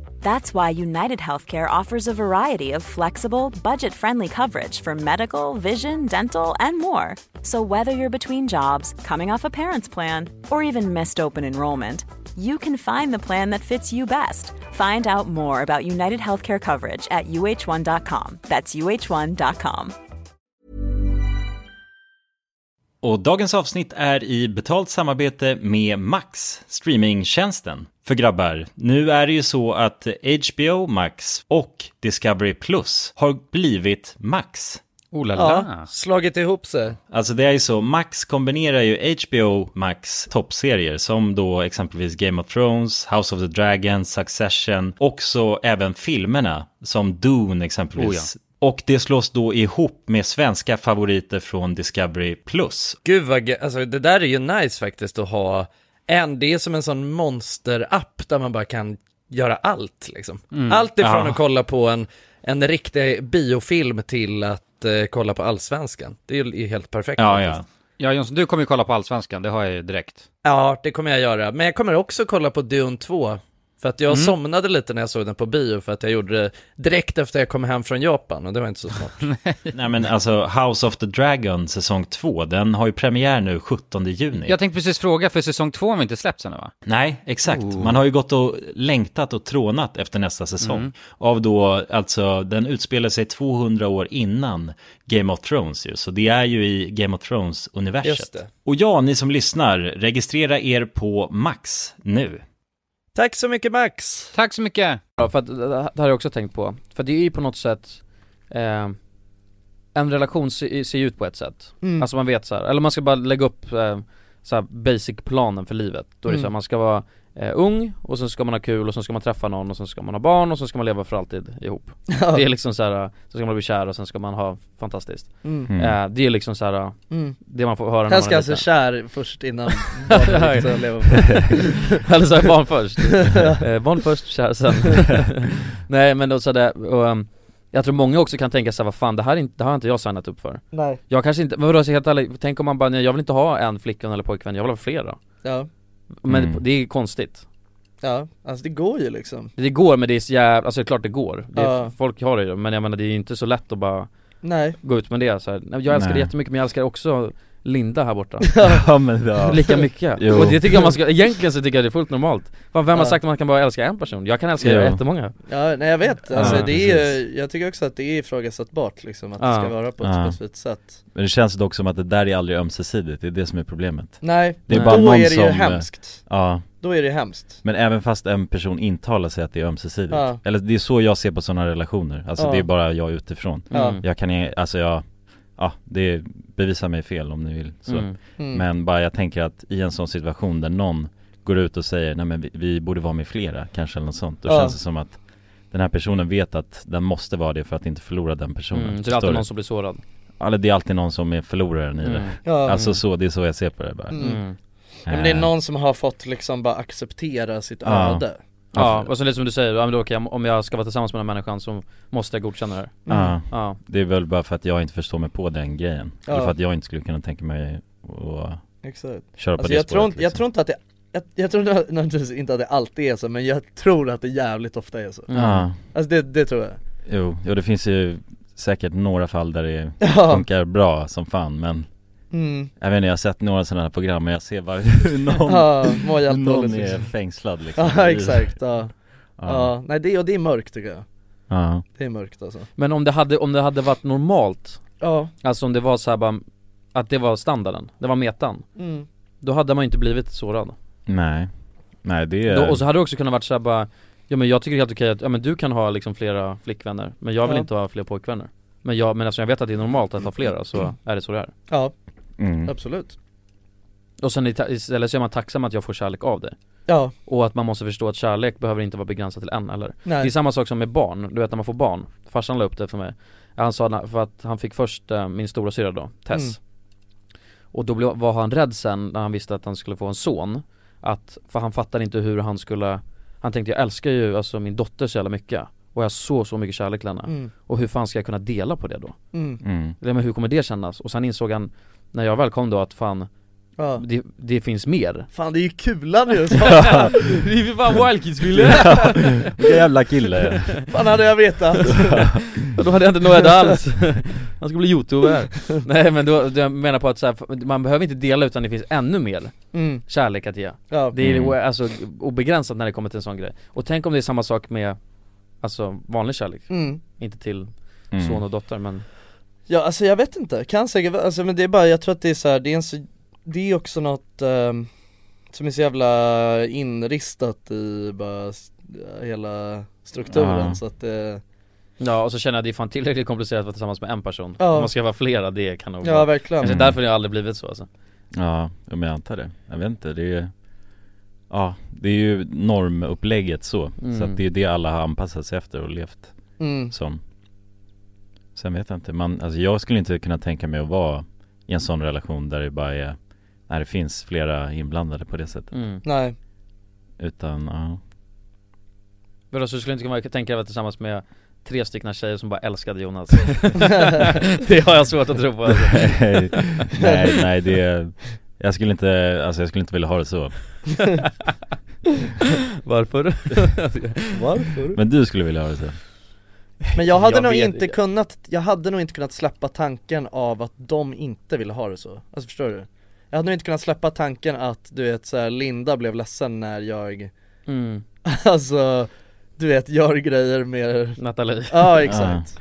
Speaker 6: That's why United Healthcare offers a variety of flexible, budget friendly coverage for medical, vision, dental, and more. So, whether you're between jobs, coming off a parent's plan, or even missed open enrollment, you can find the plan that fits you best. Find out more about United Healthcare coverage at uh1.com. That's uh1.com.
Speaker 3: Och dagens avsnitt är i betalt samarbete med Max, streamingtjänsten för grabbar. Nu är det ju så att HBO Max och Discovery Plus har blivit Max.
Speaker 5: oh la la
Speaker 4: ja, slagit ihop sig
Speaker 3: Alltså det är ju så, Max kombinerar ju HBO Max toppserier som då exempelvis Game of Thrones, House of the Dragon, Succession och så även filmerna som Dune exempelvis. Och det slås då ihop med svenska favoriter från Discovery Plus.
Speaker 4: Gud vad ge- alltså det där är ju nice faktiskt att ha en, det är som en sån monsterapp där man bara kan göra allt liksom. Allt ifrån
Speaker 3: Mm, Ja.
Speaker 4: att kolla på en, en riktig biofilm till att eh, kolla på allsvenskan. Det är ju helt perfekt.
Speaker 3: Ja,
Speaker 4: faktiskt.
Speaker 3: ja.
Speaker 2: Ja Jonsson, du kommer ju kolla på Allsvenskan, det har jag ju direkt.
Speaker 4: ja, det kommer jag göra. Men jag kommer också kolla på Dune 2. För att jag
Speaker 3: Mm.
Speaker 4: somnade lite när jag såg den på bio för att jag gjorde det direkt efter jag kom hem från Japan och det var inte så smart.
Speaker 3: Nej men alltså House of the Dragon säsong 2, den har ju premiär nu 17 juni.
Speaker 2: Jag tänkte precis fråga, för säsong två har vi inte släppts ännu va?
Speaker 3: Nej, exakt.
Speaker 4: Oh.
Speaker 3: Man har ju gått och längtat och trånat efter nästa säsong.
Speaker 4: Mm.
Speaker 3: Av då, alltså, den utspelar sig 200 år innan Game of Thrones ju. Så det är ju i Game of
Speaker 4: Just
Speaker 3: Thrones-universet.
Speaker 4: det.
Speaker 3: Och ja, ni som lyssnar, registrera er på Max nu.
Speaker 4: Tack så mycket Max!
Speaker 2: Tack så mycket!
Speaker 5: Ja, för att det det här har jag också tänkt på. För det är ju på något sätt, eh, en relation se- ser ju ut på ett sätt.
Speaker 4: Mm.
Speaker 1: Mm.
Speaker 5: Alltså man vet så här, eller man ska bara lägga upp eh, så här basic planen för livet. Då är det så här, man ska vara eh, ung och sen ska man ha kul och sen ska man träffa någon och sen ska man ha barn och sen ska man leva för alltid ihop. Det är liksom så här, eh, så ska man bli kär och sen ska man ha fantastiskt.
Speaker 3: Mm.
Speaker 5: Eh, det är liksom så här, eh,
Speaker 4: Mm.
Speaker 5: det man får höra när
Speaker 4: Han
Speaker 5: man
Speaker 4: ska
Speaker 5: är
Speaker 4: alltså
Speaker 5: liten.
Speaker 4: kär först innan barnet riktigt lever på.
Speaker 5: Eller så här, barn först, eh, barn först, kär sen Nej men då så det, och, ehm, jag tror många också kan tänka sig vad fan det här, är inte, det här har inte jag signat upp för
Speaker 4: Nej.
Speaker 5: Jag kanske inte, men vadå så helt ärligt, tänk om man bara nej jag vill inte ha en flickvän eller pojkvän, jag vill ha flera
Speaker 4: Ja.
Speaker 5: Men
Speaker 3: Mm.
Speaker 5: det är konstigt
Speaker 4: Ja, alltså det går ju liksom
Speaker 5: Det går men det är så jävla, alltså det är klart det går det är,
Speaker 4: Ja.
Speaker 5: Folk har det ju, men jag menar det är ju inte så lätt att bara
Speaker 4: Nej
Speaker 5: gå ut med det så här. Nej, Jag älskar
Speaker 3: Nej.
Speaker 5: det jättemycket men jag älskar också Linda här borta
Speaker 3: ja men ja.
Speaker 5: Lika mycket,
Speaker 3: Jo.
Speaker 5: och det tycker jag man ska, egentligen så tycker jag det är fullt normalt Fan, Vem har
Speaker 4: Ja.
Speaker 5: sagt att man kan bara älska en person? Jag kan älska
Speaker 3: Jo.
Speaker 5: jättemånga
Speaker 4: Ja, nej jag vet, alltså
Speaker 3: Ja,
Speaker 4: det är ju, jag tycker också att det är ifrågasättbart liksom att det
Speaker 5: Ja.
Speaker 4: ska vara på ett
Speaker 3: Ja.
Speaker 4: specifikt sätt
Speaker 3: Men det känns dock som att det där är aldrig ömsesidigt, det är det som är problemet
Speaker 4: Nej,
Speaker 3: Det är
Speaker 4: då
Speaker 3: bara någon
Speaker 4: är det ju
Speaker 3: som-
Speaker 4: hemskt,
Speaker 3: Ja,
Speaker 4: då är det hemskt
Speaker 3: men även fast en person intalar sig att det är ömsesidigt
Speaker 4: Ja.
Speaker 3: Eller det är så jag ser på sådana relationer, alltså
Speaker 4: Ja.
Speaker 3: det är bara jag utifrån
Speaker 4: Ja.
Speaker 5: Mm.
Speaker 3: Jag kan, i- alltså jag, ja det bevisar mig fel om ni vill så
Speaker 5: Mm.
Speaker 4: mm.
Speaker 3: Men bara jag tänker att i en sån situation där någon går ut och säger nej men vi, vi borde vara med flera kanske eller något sånt Då
Speaker 4: Ja.
Speaker 3: känns det som att den här personen vet att den måste vara det för att inte förlora den personen
Speaker 5: Mm. Så det är
Speaker 3: Förstår
Speaker 5: alltid
Speaker 3: du?
Speaker 5: någon som blir sårad
Speaker 3: Eller det är alltid någon som är förloraren i det
Speaker 5: mm.
Speaker 4: ja.
Speaker 3: Alltså så, det är så jag ser på det bara
Speaker 4: Mm.
Speaker 5: Mm.
Speaker 4: ja, men det är någon som har fått liksom bara acceptera sitt
Speaker 3: Ja.
Speaker 4: öde
Speaker 5: Ja, och så lite som du säger, ja, men då, okay, om jag ska vara tillsammans med den här människan så måste jag godkänna det här
Speaker 3: Ja,
Speaker 5: Ja,
Speaker 3: det är väl bara för att jag inte förstår mig på den grejen
Speaker 4: Ja.
Speaker 3: Eller för att jag inte skulle kunna tänka mig att
Speaker 4: Exakt
Speaker 3: köra på
Speaker 4: Alltså
Speaker 3: det
Speaker 4: jag tror,
Speaker 3: spåret liksom.
Speaker 4: inte, jag tror inte att det, jag, jag tror nö- naturligtvis inte att det alltid är så men jag tror att det jävligt ofta är så
Speaker 5: Mm.
Speaker 3: Ja,
Speaker 4: Alltså det, det tror jag
Speaker 3: jo, jo det finns ju säkert några fall där det
Speaker 4: Ja,
Speaker 3: funkar bra som fan men
Speaker 4: mm.
Speaker 3: Jag vet inte, jag har sett några sådana här program men jag ser bara hur någon,
Speaker 4: ja mår
Speaker 3: hur
Speaker 4: jävligt
Speaker 3: någon
Speaker 4: dåligt
Speaker 3: är
Speaker 4: liksom.
Speaker 3: fängslad liksom
Speaker 4: Ja exakt, ja,
Speaker 3: Ja,
Speaker 4: ja. Nej det, och det är mörkt tycker jag,
Speaker 3: ja,
Speaker 4: det är mörkt alltså
Speaker 5: Men om det hade, om det hade varit normalt
Speaker 4: Ja,
Speaker 5: Alltså om det var så här bara, att det var standarden, det var metan
Speaker 4: mm.
Speaker 5: Då hade man ju inte blivit sårad
Speaker 3: nej Nej det är,
Speaker 5: då, Och så hade det också kunnat varit så här bara Ja men jag tycker det är helt okej att, ja men du kan ha liksom flera flickvänner Men jag vill
Speaker 4: Ja.
Speaker 5: inte ha fler pojkvänner Men jag, men eftersom jag vet att det är normalt att ha flera så är det så det är
Speaker 4: ja
Speaker 3: mm.
Speaker 4: absolut
Speaker 5: Och sen i ta- istället så är man tacksam att jag får kärlek av det
Speaker 4: Ja,
Speaker 5: Och att man måste förstå att kärlek behöver inte vara begränsad till en eller Det är
Speaker 4: nej,
Speaker 5: samma sak som med barn, du vet när man får barn Farsan la upp det för mig Han sa na- för att han fick först eh, min stora syra då, Tess
Speaker 4: Mm.
Speaker 5: Och då blev, var han rädd sen när han visste att han skulle få en son Att, för han fattade inte hur han skulle Han tänkte jag älskar ju alltså min dotter så jävla mycket Och jag har så så mycket kärlek till henne
Speaker 4: mm.
Speaker 5: Och hur fan ska jag kunna dela på det då?
Speaker 4: Mm.
Speaker 3: Mm.
Speaker 5: Eller men hur kommer det kännas? Och sen insåg han När jag väl kom då att fan,
Speaker 4: Ja.
Speaker 5: det, det finns mer
Speaker 4: Fan det är ju kulan ju, så
Speaker 5: Det är ju fan wildkids-bilder!
Speaker 3: Vilken jävla kille
Speaker 4: fan hade jag vetat
Speaker 5: Och då hade jag inte nått alls Han ska bli youtuber Nej men då, då jag menar på att så här, man behöver inte dela utan det finns ännu mer
Speaker 4: mm.
Speaker 5: kärlek att ge
Speaker 4: Ja,
Speaker 5: Det är
Speaker 3: Mm.
Speaker 5: o- alltså obegränsat när det kommer till en sån grej Och tänk om det är samma sak med Alltså vanlig kärlek,
Speaker 4: mm.
Speaker 5: inte till
Speaker 3: Mm.
Speaker 5: son och dotter men
Speaker 4: Ja alltså jag vet inte, kan säkert vara- alltså men det är bara, jag tror att det är så här, det är en så, det är också något ehm, som är så jävla inristat i bara s- eh, hela strukturen
Speaker 3: Ja.
Speaker 4: så att eh, det,
Speaker 5: Ja och så känner jag att det är fan tillräckligt komplicerat för att vara tillsammans med en person
Speaker 4: Ja.
Speaker 5: Om man ska vara flera, det kan nog
Speaker 4: ja
Speaker 5: vara
Speaker 4: verkligen
Speaker 5: Kanske
Speaker 3: Mm.
Speaker 5: därför det har aldrig blivit så alltså
Speaker 3: Ja, ja, men jag antar det. Jag vet inte, det är ju Ja, det är ju normupplägget så. Så
Speaker 5: Mm.
Speaker 3: att det är det alla har anpassat sig efter och levt
Speaker 4: mm.
Speaker 3: som Sen vet jag inte, man, alltså jag skulle inte kunna tänka mig att vara i en sån relation där det bara är När det finns flera inblandade på det sättet
Speaker 5: mm.
Speaker 4: Nej,
Speaker 3: Utan, ja
Speaker 5: Vadå så du skulle inte kunna tänka dig att vara tillsammans med tre stycken tjejer som bara älskade Jonas? det har jag svårt att tro på alltså.
Speaker 3: Nej, nej, nej det är, Jag skulle inte, alltså jag skulle inte vilja ha det så
Speaker 5: Varför?
Speaker 4: varför?
Speaker 3: Men du skulle vilja ha det så?
Speaker 4: Men jag hade
Speaker 5: Jag
Speaker 4: nog
Speaker 5: vet-
Speaker 4: inte kunnat, jag hade nog inte kunnat släppa tanken av att de inte ville ha det så, alltså förstår du? Jag hade nog inte kunnat släppa tanken att du vet så här, Linda blev ledsen när jag,
Speaker 5: Mm,
Speaker 4: alltså du vet gör grejer med
Speaker 5: Nathalie
Speaker 4: Ja exakt,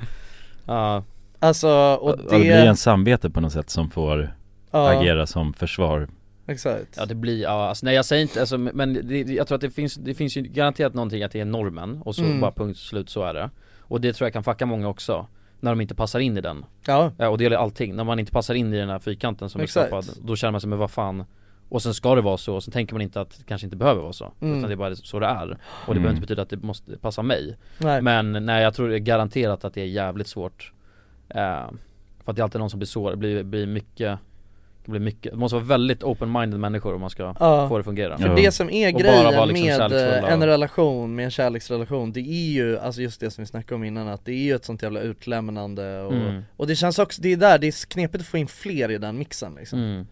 Speaker 5: Ja,
Speaker 4: alltså och
Speaker 3: Det, det blir
Speaker 4: det,
Speaker 3: en samvete på något sätt som får
Speaker 4: ja
Speaker 3: agera som försvar
Speaker 4: exakt
Speaker 5: ja det blir, ja alltså, nej jag säger inte, alltså, men det, jag tror att det finns, det finns ju garanterat någonting att det är normen och så
Speaker 4: Mm.
Speaker 5: bara punkt slut så är det Och det tror jag kan fucka många också när de inte passar in i den,
Speaker 4: Ja,
Speaker 5: ja, Eh, och det gäller allting, när man inte passar in i den här fyrkanten som
Speaker 4: Exakt.
Speaker 5: är skapad Då känner man sig, men vad fan Och sen ska det vara så, och sen tänker man inte att det kanske inte behöver vara så
Speaker 4: Mm.
Speaker 5: Utan det är bara så det är, och det
Speaker 3: Mm.
Speaker 5: behöver inte betyda att det måste passa mig
Speaker 4: nej,
Speaker 5: Men nej jag tror det är garanterat att det är jävligt svårt eh, För att det är alltid någon som blir sårad, blir, blir mycket det blir mycket, det måste vara väldigt open-minded människor om man ska
Speaker 4: Ja.
Speaker 5: få det att fungera
Speaker 3: Ja.
Speaker 4: för det som är
Speaker 5: Och bara vara liksom
Speaker 4: grejen med
Speaker 5: kärleksfulla
Speaker 4: eh, en
Speaker 5: och-
Speaker 4: relation, med en kärleksrelation, det är ju, alltså just det som vi snackade om innan, att det är ju ett sånt jävla utlämnande och,
Speaker 5: Mm.
Speaker 4: och det känns också, det är där, det är knepigt att få in fler i den mixen liksom
Speaker 5: Mm.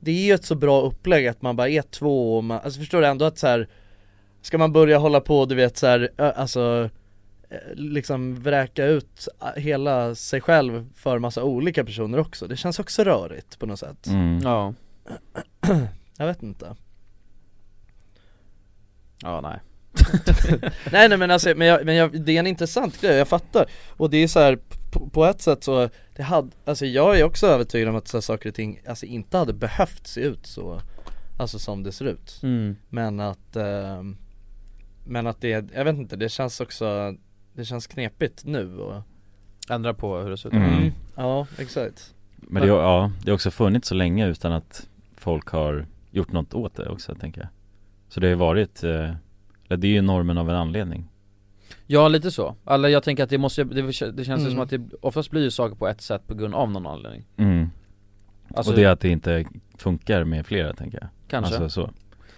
Speaker 4: det är ju ett så bra upplägg att man bara är två och man, alltså förstår du ändå att så här Ska man börja hålla på du vet så här, ö, alltså eh, Liksom vräka ut eh, hela sig själv för massa olika personer också Det känns också rörigt på något sätt
Speaker 3: Mm.
Speaker 5: Ja,
Speaker 4: Jag vet inte
Speaker 5: ja nej
Speaker 4: Nej nej men alltså, men, jag, men jag, det är en intressant grej, jag fattar Och det är så här, på, på ett sätt så, det hade, alltså jag är också övertygad om att så här, saker och ting, alltså inte hade behövt se ut så Alltså som det ser ut
Speaker 5: mm.
Speaker 4: Men att ehm, Men att det, jag vet inte, det känns också Det känns knepigt nu och
Speaker 5: Ändra på hur det ser ut
Speaker 3: Mm.
Speaker 4: Ja, exakt
Speaker 3: Men det, ja, det har också funnits så länge utan att folk har gjort något åt det också tänker jag Så det har ju varit, eh, eller det är ju normen av en anledning
Speaker 5: Ja lite så, eller jag tänker att det måste, det, det känns ju
Speaker 4: Mm.
Speaker 5: som att det oftast blir ju saker på ett sätt på grund av någon anledning
Speaker 3: mm.
Speaker 5: Alltså
Speaker 3: Och det är att det inte funkar med flera tänker jag
Speaker 5: kanske
Speaker 3: Alltså så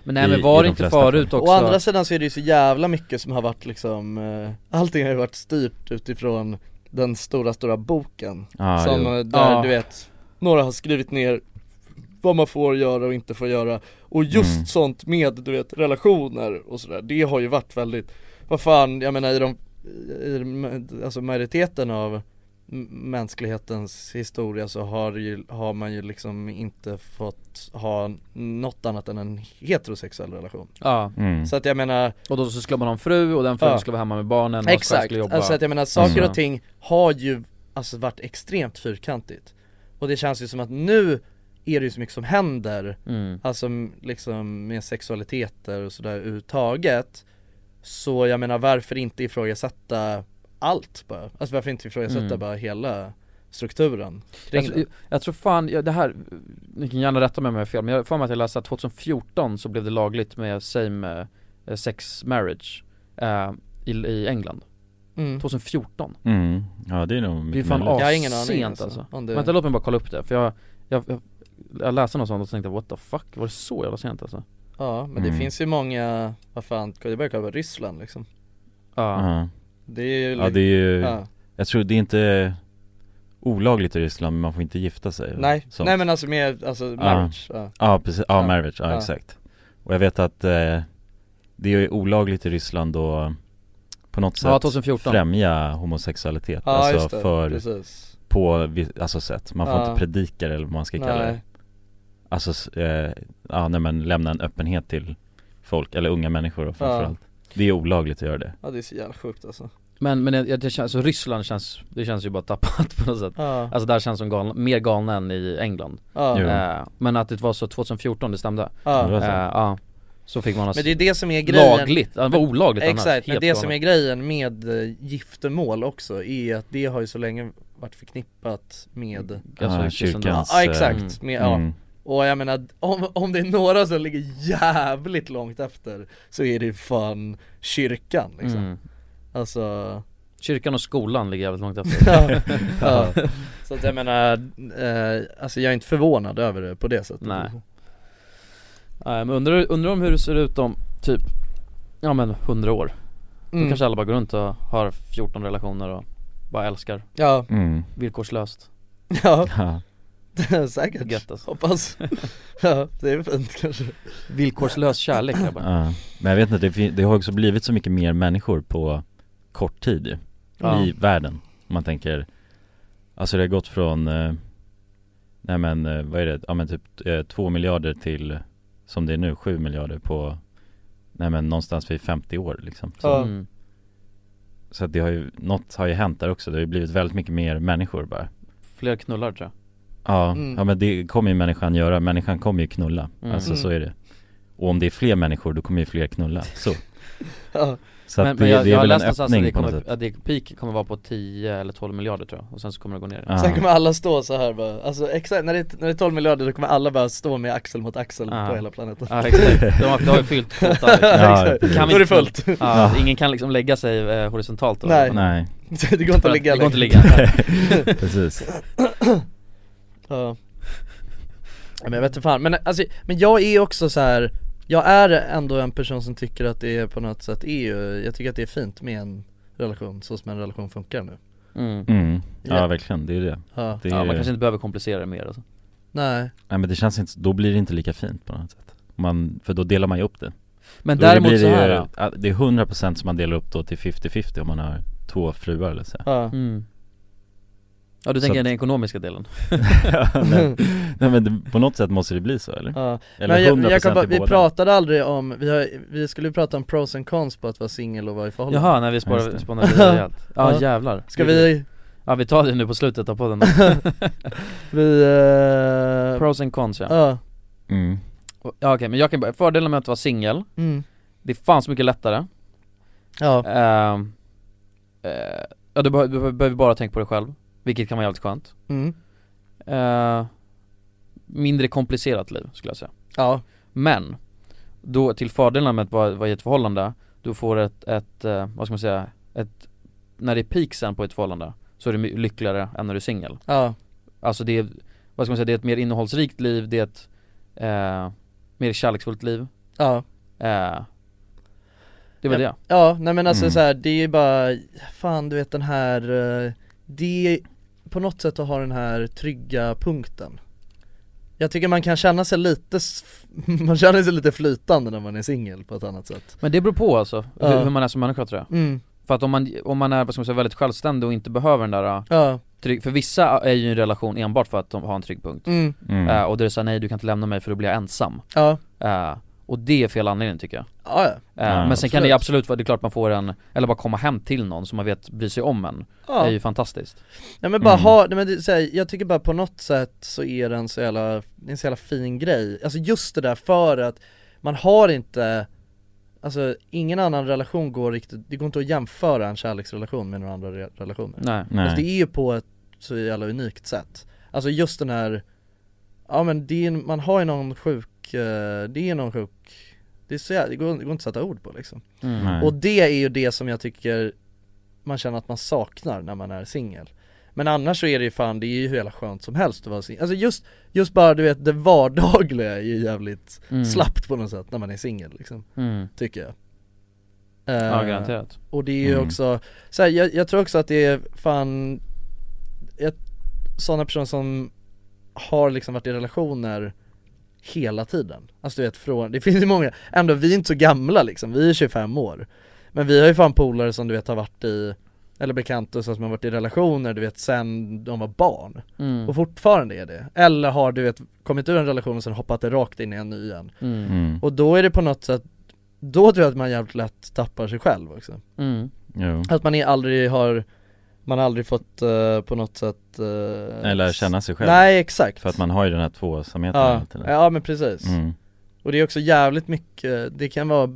Speaker 5: Men nej
Speaker 3: i-
Speaker 5: men
Speaker 3: i de
Speaker 5: var det inte
Speaker 3: flesta
Speaker 5: förut också?
Speaker 4: Å andra sidan så är det ju så jävla mycket som har varit liksom eh, Allting har ju varit styrt utifrån den stora, stora boken
Speaker 3: Ja,
Speaker 4: Som,
Speaker 3: Ah, jo.
Speaker 4: eh, där
Speaker 5: Ja.
Speaker 4: du vet, några har skrivit ner vad man får göra och inte får göra Och just
Speaker 3: Mm.
Speaker 4: sånt med, du vet, relationer och sådär Det har ju varit väldigt, vad fan, jag menar i de, i, de- alltså majoriteten av m- mänsklighetens historia så har, ju, har man ju liksom inte fått ha något annat än en heterosexuell relation
Speaker 5: Ja,
Speaker 3: mm.
Speaker 4: Så att jag menar,
Speaker 5: och då så skulle man ha en fru och den frun
Speaker 4: Ja.
Speaker 5: skulle vara hemma med barnen och själv
Speaker 4: Exakt,
Speaker 5: skulle jobba
Speaker 4: alltså att jag menar saker
Speaker 5: Mm.
Speaker 4: och ting har ju alltså varit extremt fyrkantigt Och det känns ju som att nu är det ju så mycket som händer,
Speaker 5: mm.
Speaker 4: alltså m- liksom med sexualiteter och sådär överhuvudtaget Så jag menar varför inte ifrågasätta allt bara? Alltså varför inte ifrågasätta
Speaker 5: Mm. Alltså,
Speaker 4: bara hela strukturen kring
Speaker 5: jag,
Speaker 4: det?
Speaker 5: tror- jag tror fan, jag, det här, ni kan gärna rätta mig om jag har fel men jag har för mig att jag läste att 2014 så blev det lagligt med same eh, sex marriage eh, i, i England
Speaker 4: Mm.
Speaker 5: 2014
Speaker 3: Mm. Ja det är nog
Speaker 5: Det är
Speaker 3: mycket
Speaker 5: fan
Speaker 3: möjligt.
Speaker 4: Jag har ingen aning
Speaker 5: sent
Speaker 4: alltså,
Speaker 5: alltså.
Speaker 4: om det-
Speaker 5: Vänta låt mig bara kolla upp det, för jag, jag, jag, jag läste något sånt och tänkte what the fuck, var det så jävla sent alltså?
Speaker 4: Ja men det
Speaker 3: Mm.
Speaker 4: finns ju många, vad fan, det börjar kolla på Ryssland liksom
Speaker 5: Ja,
Speaker 3: Ja.
Speaker 4: Det är ju,
Speaker 3: ja det är ju,
Speaker 4: ja.
Speaker 3: jag tror det är inte olagligt i Ryssland men man får inte gifta sig eller
Speaker 4: Nej,
Speaker 3: sånt. Ah.
Speaker 4: nej men alltså med, alltså marriage, ja.
Speaker 3: Ja precis, ja,
Speaker 4: Ja.
Speaker 3: marriage, ja,
Speaker 4: Ja.
Speaker 3: exakt Och jag vet att eh, det är ju olagligt i Ryssland då på något
Speaker 5: ja
Speaker 3: sätt
Speaker 5: 2014
Speaker 3: främja homosexualitet
Speaker 4: Ja
Speaker 3: Alltså
Speaker 4: just det,
Speaker 3: för,
Speaker 4: precis
Speaker 3: på vi- alltså sätt, man får
Speaker 4: Ja.
Speaker 3: inte predika det eller vad man ska kalla det
Speaker 4: Nej,
Speaker 3: Alltså, s- eh, ja nej men lämna en öppenhet till folk, eller unga människor då, framförallt Det är olagligt att göra det
Speaker 4: ja det är så jävla sjukt alltså
Speaker 5: Men, men jag, jag, alltså, Ryssland känns, det känns ju bara tappat på något sätt
Speaker 4: Ja,
Speaker 5: Alltså där känns som galna, mer galna än i England
Speaker 3: Jo.
Speaker 4: ja,
Speaker 5: eh, Men att det var så 2014, det stämde
Speaker 3: Det
Speaker 4: ja
Speaker 3: var
Speaker 5: Ja,
Speaker 3: så.
Speaker 5: eh, ja. Så fick man alltså
Speaker 4: Men det är det som är grejen
Speaker 5: lagligt, ja, det var olagligt annars,
Speaker 4: Exakt, men
Speaker 5: helt
Speaker 4: det som är
Speaker 5: galet.
Speaker 4: grejen med eh, giftermål också är att det har ju så länge varit förknippat med
Speaker 5: Alltså,
Speaker 3: Ja,
Speaker 5: kristendom.
Speaker 3: kyrkan.
Speaker 4: Ja
Speaker 3: Hans,
Speaker 4: ah,
Speaker 3: eh,
Speaker 4: exakt, med, ja.
Speaker 3: Mm.
Speaker 4: och jag menar om, om det är några som ligger jävligt långt efter så är det ju fan kyrkan liksom
Speaker 5: Mm.
Speaker 4: Alltså,
Speaker 5: Kyrkan och skolan ligger jävligt långt efter
Speaker 4: ja. så att jag menar, eh, alltså jag är inte förvånad över det på det sättet
Speaker 5: Nej. Nej Eh, men undrar, undrar om hur det ser ut om typ, ja men 100 år Då
Speaker 4: Mm.
Speaker 5: kanske alla bara går runt och har 14 relationer och bara älskar
Speaker 4: Ja,
Speaker 3: Mm.
Speaker 5: villkorslöst
Speaker 4: ja,
Speaker 3: Ja.
Speaker 4: säkert
Speaker 5: Gött alltså
Speaker 4: Hoppas Ja, det är fint kanske
Speaker 5: Villkorslös kärlek grabbar
Speaker 3: Ja. Ah. Men jag vet inte, det, fin- det har också blivit så mycket mer människor på kort tid ju,
Speaker 5: Ja.
Speaker 3: i världen Om man tänker Alltså det har gått från eh, Nej men eh, vad är det, ja men typ eh, 2 miljarder till Som det är nu, 7 miljarder på Nej men någonstans vid 50 år liksom Så,
Speaker 4: Ja.
Speaker 5: mm.
Speaker 3: så att det har ju, något har ju hänt där också, det har ju blivit väldigt mycket mer människor bara
Speaker 5: Fler knullar tror
Speaker 3: Ja,
Speaker 4: Mm.
Speaker 3: ja men det kommer ju människan göra, människan kommer ju knulla
Speaker 5: Mm.
Speaker 3: Alltså
Speaker 4: Mm.
Speaker 3: så är det Och om det är fler människor då kommer ju fler knulla, så
Speaker 4: Ja,
Speaker 3: Så att
Speaker 5: jag Men,
Speaker 3: det,
Speaker 5: men jag,
Speaker 3: det
Speaker 5: jag
Speaker 3: är
Speaker 5: har
Speaker 3: väl en
Speaker 5: läst någonstans att
Speaker 3: öppning
Speaker 5: det
Speaker 3: på något
Speaker 5: kommer,
Speaker 3: sätt
Speaker 5: att det peak kommer vara på 10 eller 12 miljarder tror jag och sen så kommer det gå ner igen
Speaker 3: Ja.
Speaker 4: sen kommer alla stå så här bara, alltså exakt, när det, när det är 12 miljarder då kommer alla bara stå med axel mot axel
Speaker 5: Ja.
Speaker 4: på hela planeten
Speaker 5: Ja exakt, de har, de har ju fyllt kvotan liksom.
Speaker 3: Ja,
Speaker 4: Exakt.
Speaker 3: precis.
Speaker 5: Kan vi
Speaker 4: Då är det
Speaker 5: inte-
Speaker 4: fullt
Speaker 5: ja, Ingen kan liksom lägga sig eh, horisontalt då
Speaker 4: Nej.
Speaker 5: Utan-
Speaker 3: Nej,
Speaker 4: Det går inte att ligga
Speaker 5: Det går inte att
Speaker 4: längre.
Speaker 5: ligga
Speaker 3: precis
Speaker 4: Ja Ja, men jag vet inte fan, men alltså, men jag är också så här. Jag är ändå en person som tycker att det är på något sätt är ju, jag tycker att det är fint med en relation, så som en relation funkar nu
Speaker 5: mm.
Speaker 3: Mm. Ja,
Speaker 4: Ja.
Speaker 3: verkligen, det är det,
Speaker 4: Ja,
Speaker 3: det är
Speaker 5: Ja
Speaker 3: ju-
Speaker 5: man kanske inte behöver komplicera det mer alltså.
Speaker 4: Nej,
Speaker 3: Nej men det känns inte, då blir det inte lika fint på något sätt man, För då delar man ju upp det
Speaker 5: Men
Speaker 3: då
Speaker 5: däremot
Speaker 3: blir
Speaker 5: så
Speaker 3: det,
Speaker 5: här.
Speaker 3: ju- ja, det är 100% som man delar upp då till 50-50 om man har två fruar eller så
Speaker 4: ja.
Speaker 5: Mm. Ja du
Speaker 3: Så
Speaker 5: tänker
Speaker 3: att-
Speaker 5: den ekonomiska delen?
Speaker 3: nej, nej men det, på något sätt måste det bli så eller?
Speaker 4: ja.
Speaker 3: Eller
Speaker 4: Men
Speaker 3: 100%
Speaker 4: jag, jag kan bara,
Speaker 3: i
Speaker 4: vi
Speaker 3: båda?
Speaker 4: pratade aldrig om, vi, har, vi skulle prata om pros and cons på att vara singel och vara i förhållande
Speaker 5: Jaha, när vi
Speaker 3: Just
Speaker 5: sparar,
Speaker 3: det.
Speaker 5: spanar vidare rejält Ja
Speaker 4: Ja.
Speaker 5: jävlar
Speaker 4: Ska vi,
Speaker 5: Ja vi tar det nu på slutet av podden
Speaker 4: vi, eh,
Speaker 5: Pros and cons ja
Speaker 4: ja,
Speaker 3: Mm.
Speaker 5: Ja okej men jag kan börja, fördelen med att vara singel,
Speaker 4: mm,
Speaker 5: det är fan så mycket lättare
Speaker 4: ja,
Speaker 5: Ehm, eh, Ja du behö- du behö- behöver bara tänka på dig själv, vilket kan vara jävligt skönt
Speaker 4: mm,
Speaker 5: Eh, Mindre komplicerat liv skulle jag säga
Speaker 4: ja,
Speaker 5: Men, då till fördelarna med att vara, vara i ett förhållande, du får ett, ett, eh, vad ska man säga, ett, när det är peak sen på ett förhållande så är du my- lyckligare än när du är singel
Speaker 4: ja,
Speaker 5: Alltså det är, vad ska man säga, det är ett mer innehållsrikt liv, det är ett eh, mer kärleksfullt liv
Speaker 4: ja
Speaker 5: eh, Det var
Speaker 4: Ja.
Speaker 5: det
Speaker 4: Ja, nej men alltså
Speaker 3: Mm.
Speaker 4: så här, det är bara, fan du vet den här, eh, det är på något sätt att ha den här trygga punkten Jag tycker man kan känna sig lite, s- man känner sig lite flytande när man är singel på ett annat sätt
Speaker 5: Men det beror på alltså,
Speaker 4: Ja.
Speaker 5: hur, hur man är som människa tror jag
Speaker 4: Mm,
Speaker 5: För att om man, om man är, vad ska man säga, väldigt självständig och inte behöver den där eh,
Speaker 4: ja,
Speaker 5: trygg, för vissa är ju i en relation enbart för att de har en trygg punkt
Speaker 4: mm,
Speaker 3: Mm.
Speaker 5: eh, Och då är det såhär, nej du kan inte lämna mig för då blir jag ensam
Speaker 4: ja,
Speaker 5: Eh, och det är fel anledning tycker jag.
Speaker 4: ja, ja,
Speaker 5: Eh,
Speaker 3: Ja,
Speaker 5: men sen
Speaker 4: absolut.
Speaker 5: kan det ju absolut vara, det är klart man får en, eller bara komma hem till någon som man vet bryr sig om en,
Speaker 4: ja.
Speaker 5: är ju fantastiskt
Speaker 4: Nej men bara
Speaker 3: Mm.
Speaker 4: ha, nej men det, så här, jag tycker bara på något sätt så är den så jävla, det är en så jävla fin grej, alltså just det där för att man har inte Alltså ingen annan relation går riktigt, det går inte att jämföra en kärleksrelation med några andra re- relationer
Speaker 5: Nej,
Speaker 3: Nej.
Speaker 4: Alltså det är ju på ett så jävla unikt sätt Alltså just den här, ja men det är, en- man har ju någon sjuk, eh, det är någon sjuk, det, är så jävla, det, går, det går inte att sätta ord på liksom
Speaker 5: mm.
Speaker 3: Nej.
Speaker 4: och det är ju det som jag tycker man känner att man saknar när man är singel Men annars så är det ju fan, det är ju hur jävla skönt som helst att vara singel Alltså just, just bara du vet det vardagliga är ju jävligt
Speaker 5: Mm.
Speaker 4: slappt på något sätt när man är singel liksom,
Speaker 5: Mm.
Speaker 4: tycker jag
Speaker 5: Ja
Speaker 4: Eh,
Speaker 5: garanterat
Speaker 4: Och det är ju
Speaker 3: Mm.
Speaker 4: också, så här, jag, jag tror också att det är fan, ett, sådana personer som har liksom varit i relationer hela tiden. Alltså du vet från, det finns ju många, ändå vi är inte så gamla liksom, vi är 25 år. Men vi har ju fan polare som du vet har varit i, eller bekanta som har varit i relationer du vet sen de var barn.
Speaker 5: mm.
Speaker 4: Och fortfarande är det. Eller har du vet kommit ur en relation och sen hoppat rakt in i en ny igen.
Speaker 5: Mm.
Speaker 3: mm.
Speaker 4: Och då är det på något sätt, då tror jag att man jävligt lätt tappar sig själv också.
Speaker 5: Mm.
Speaker 3: Jo.
Speaker 4: Att man är aldrig har, man har aldrig fått eh, på något sätt eh,
Speaker 3: Eller känna sig själv
Speaker 4: Nej exakt
Speaker 3: För att man har ju den här tvåsamheten
Speaker 4: ja,
Speaker 3: hela tiden.
Speaker 4: ja men precis,
Speaker 3: Mm.
Speaker 4: och det är också jävligt mycket, det kan vara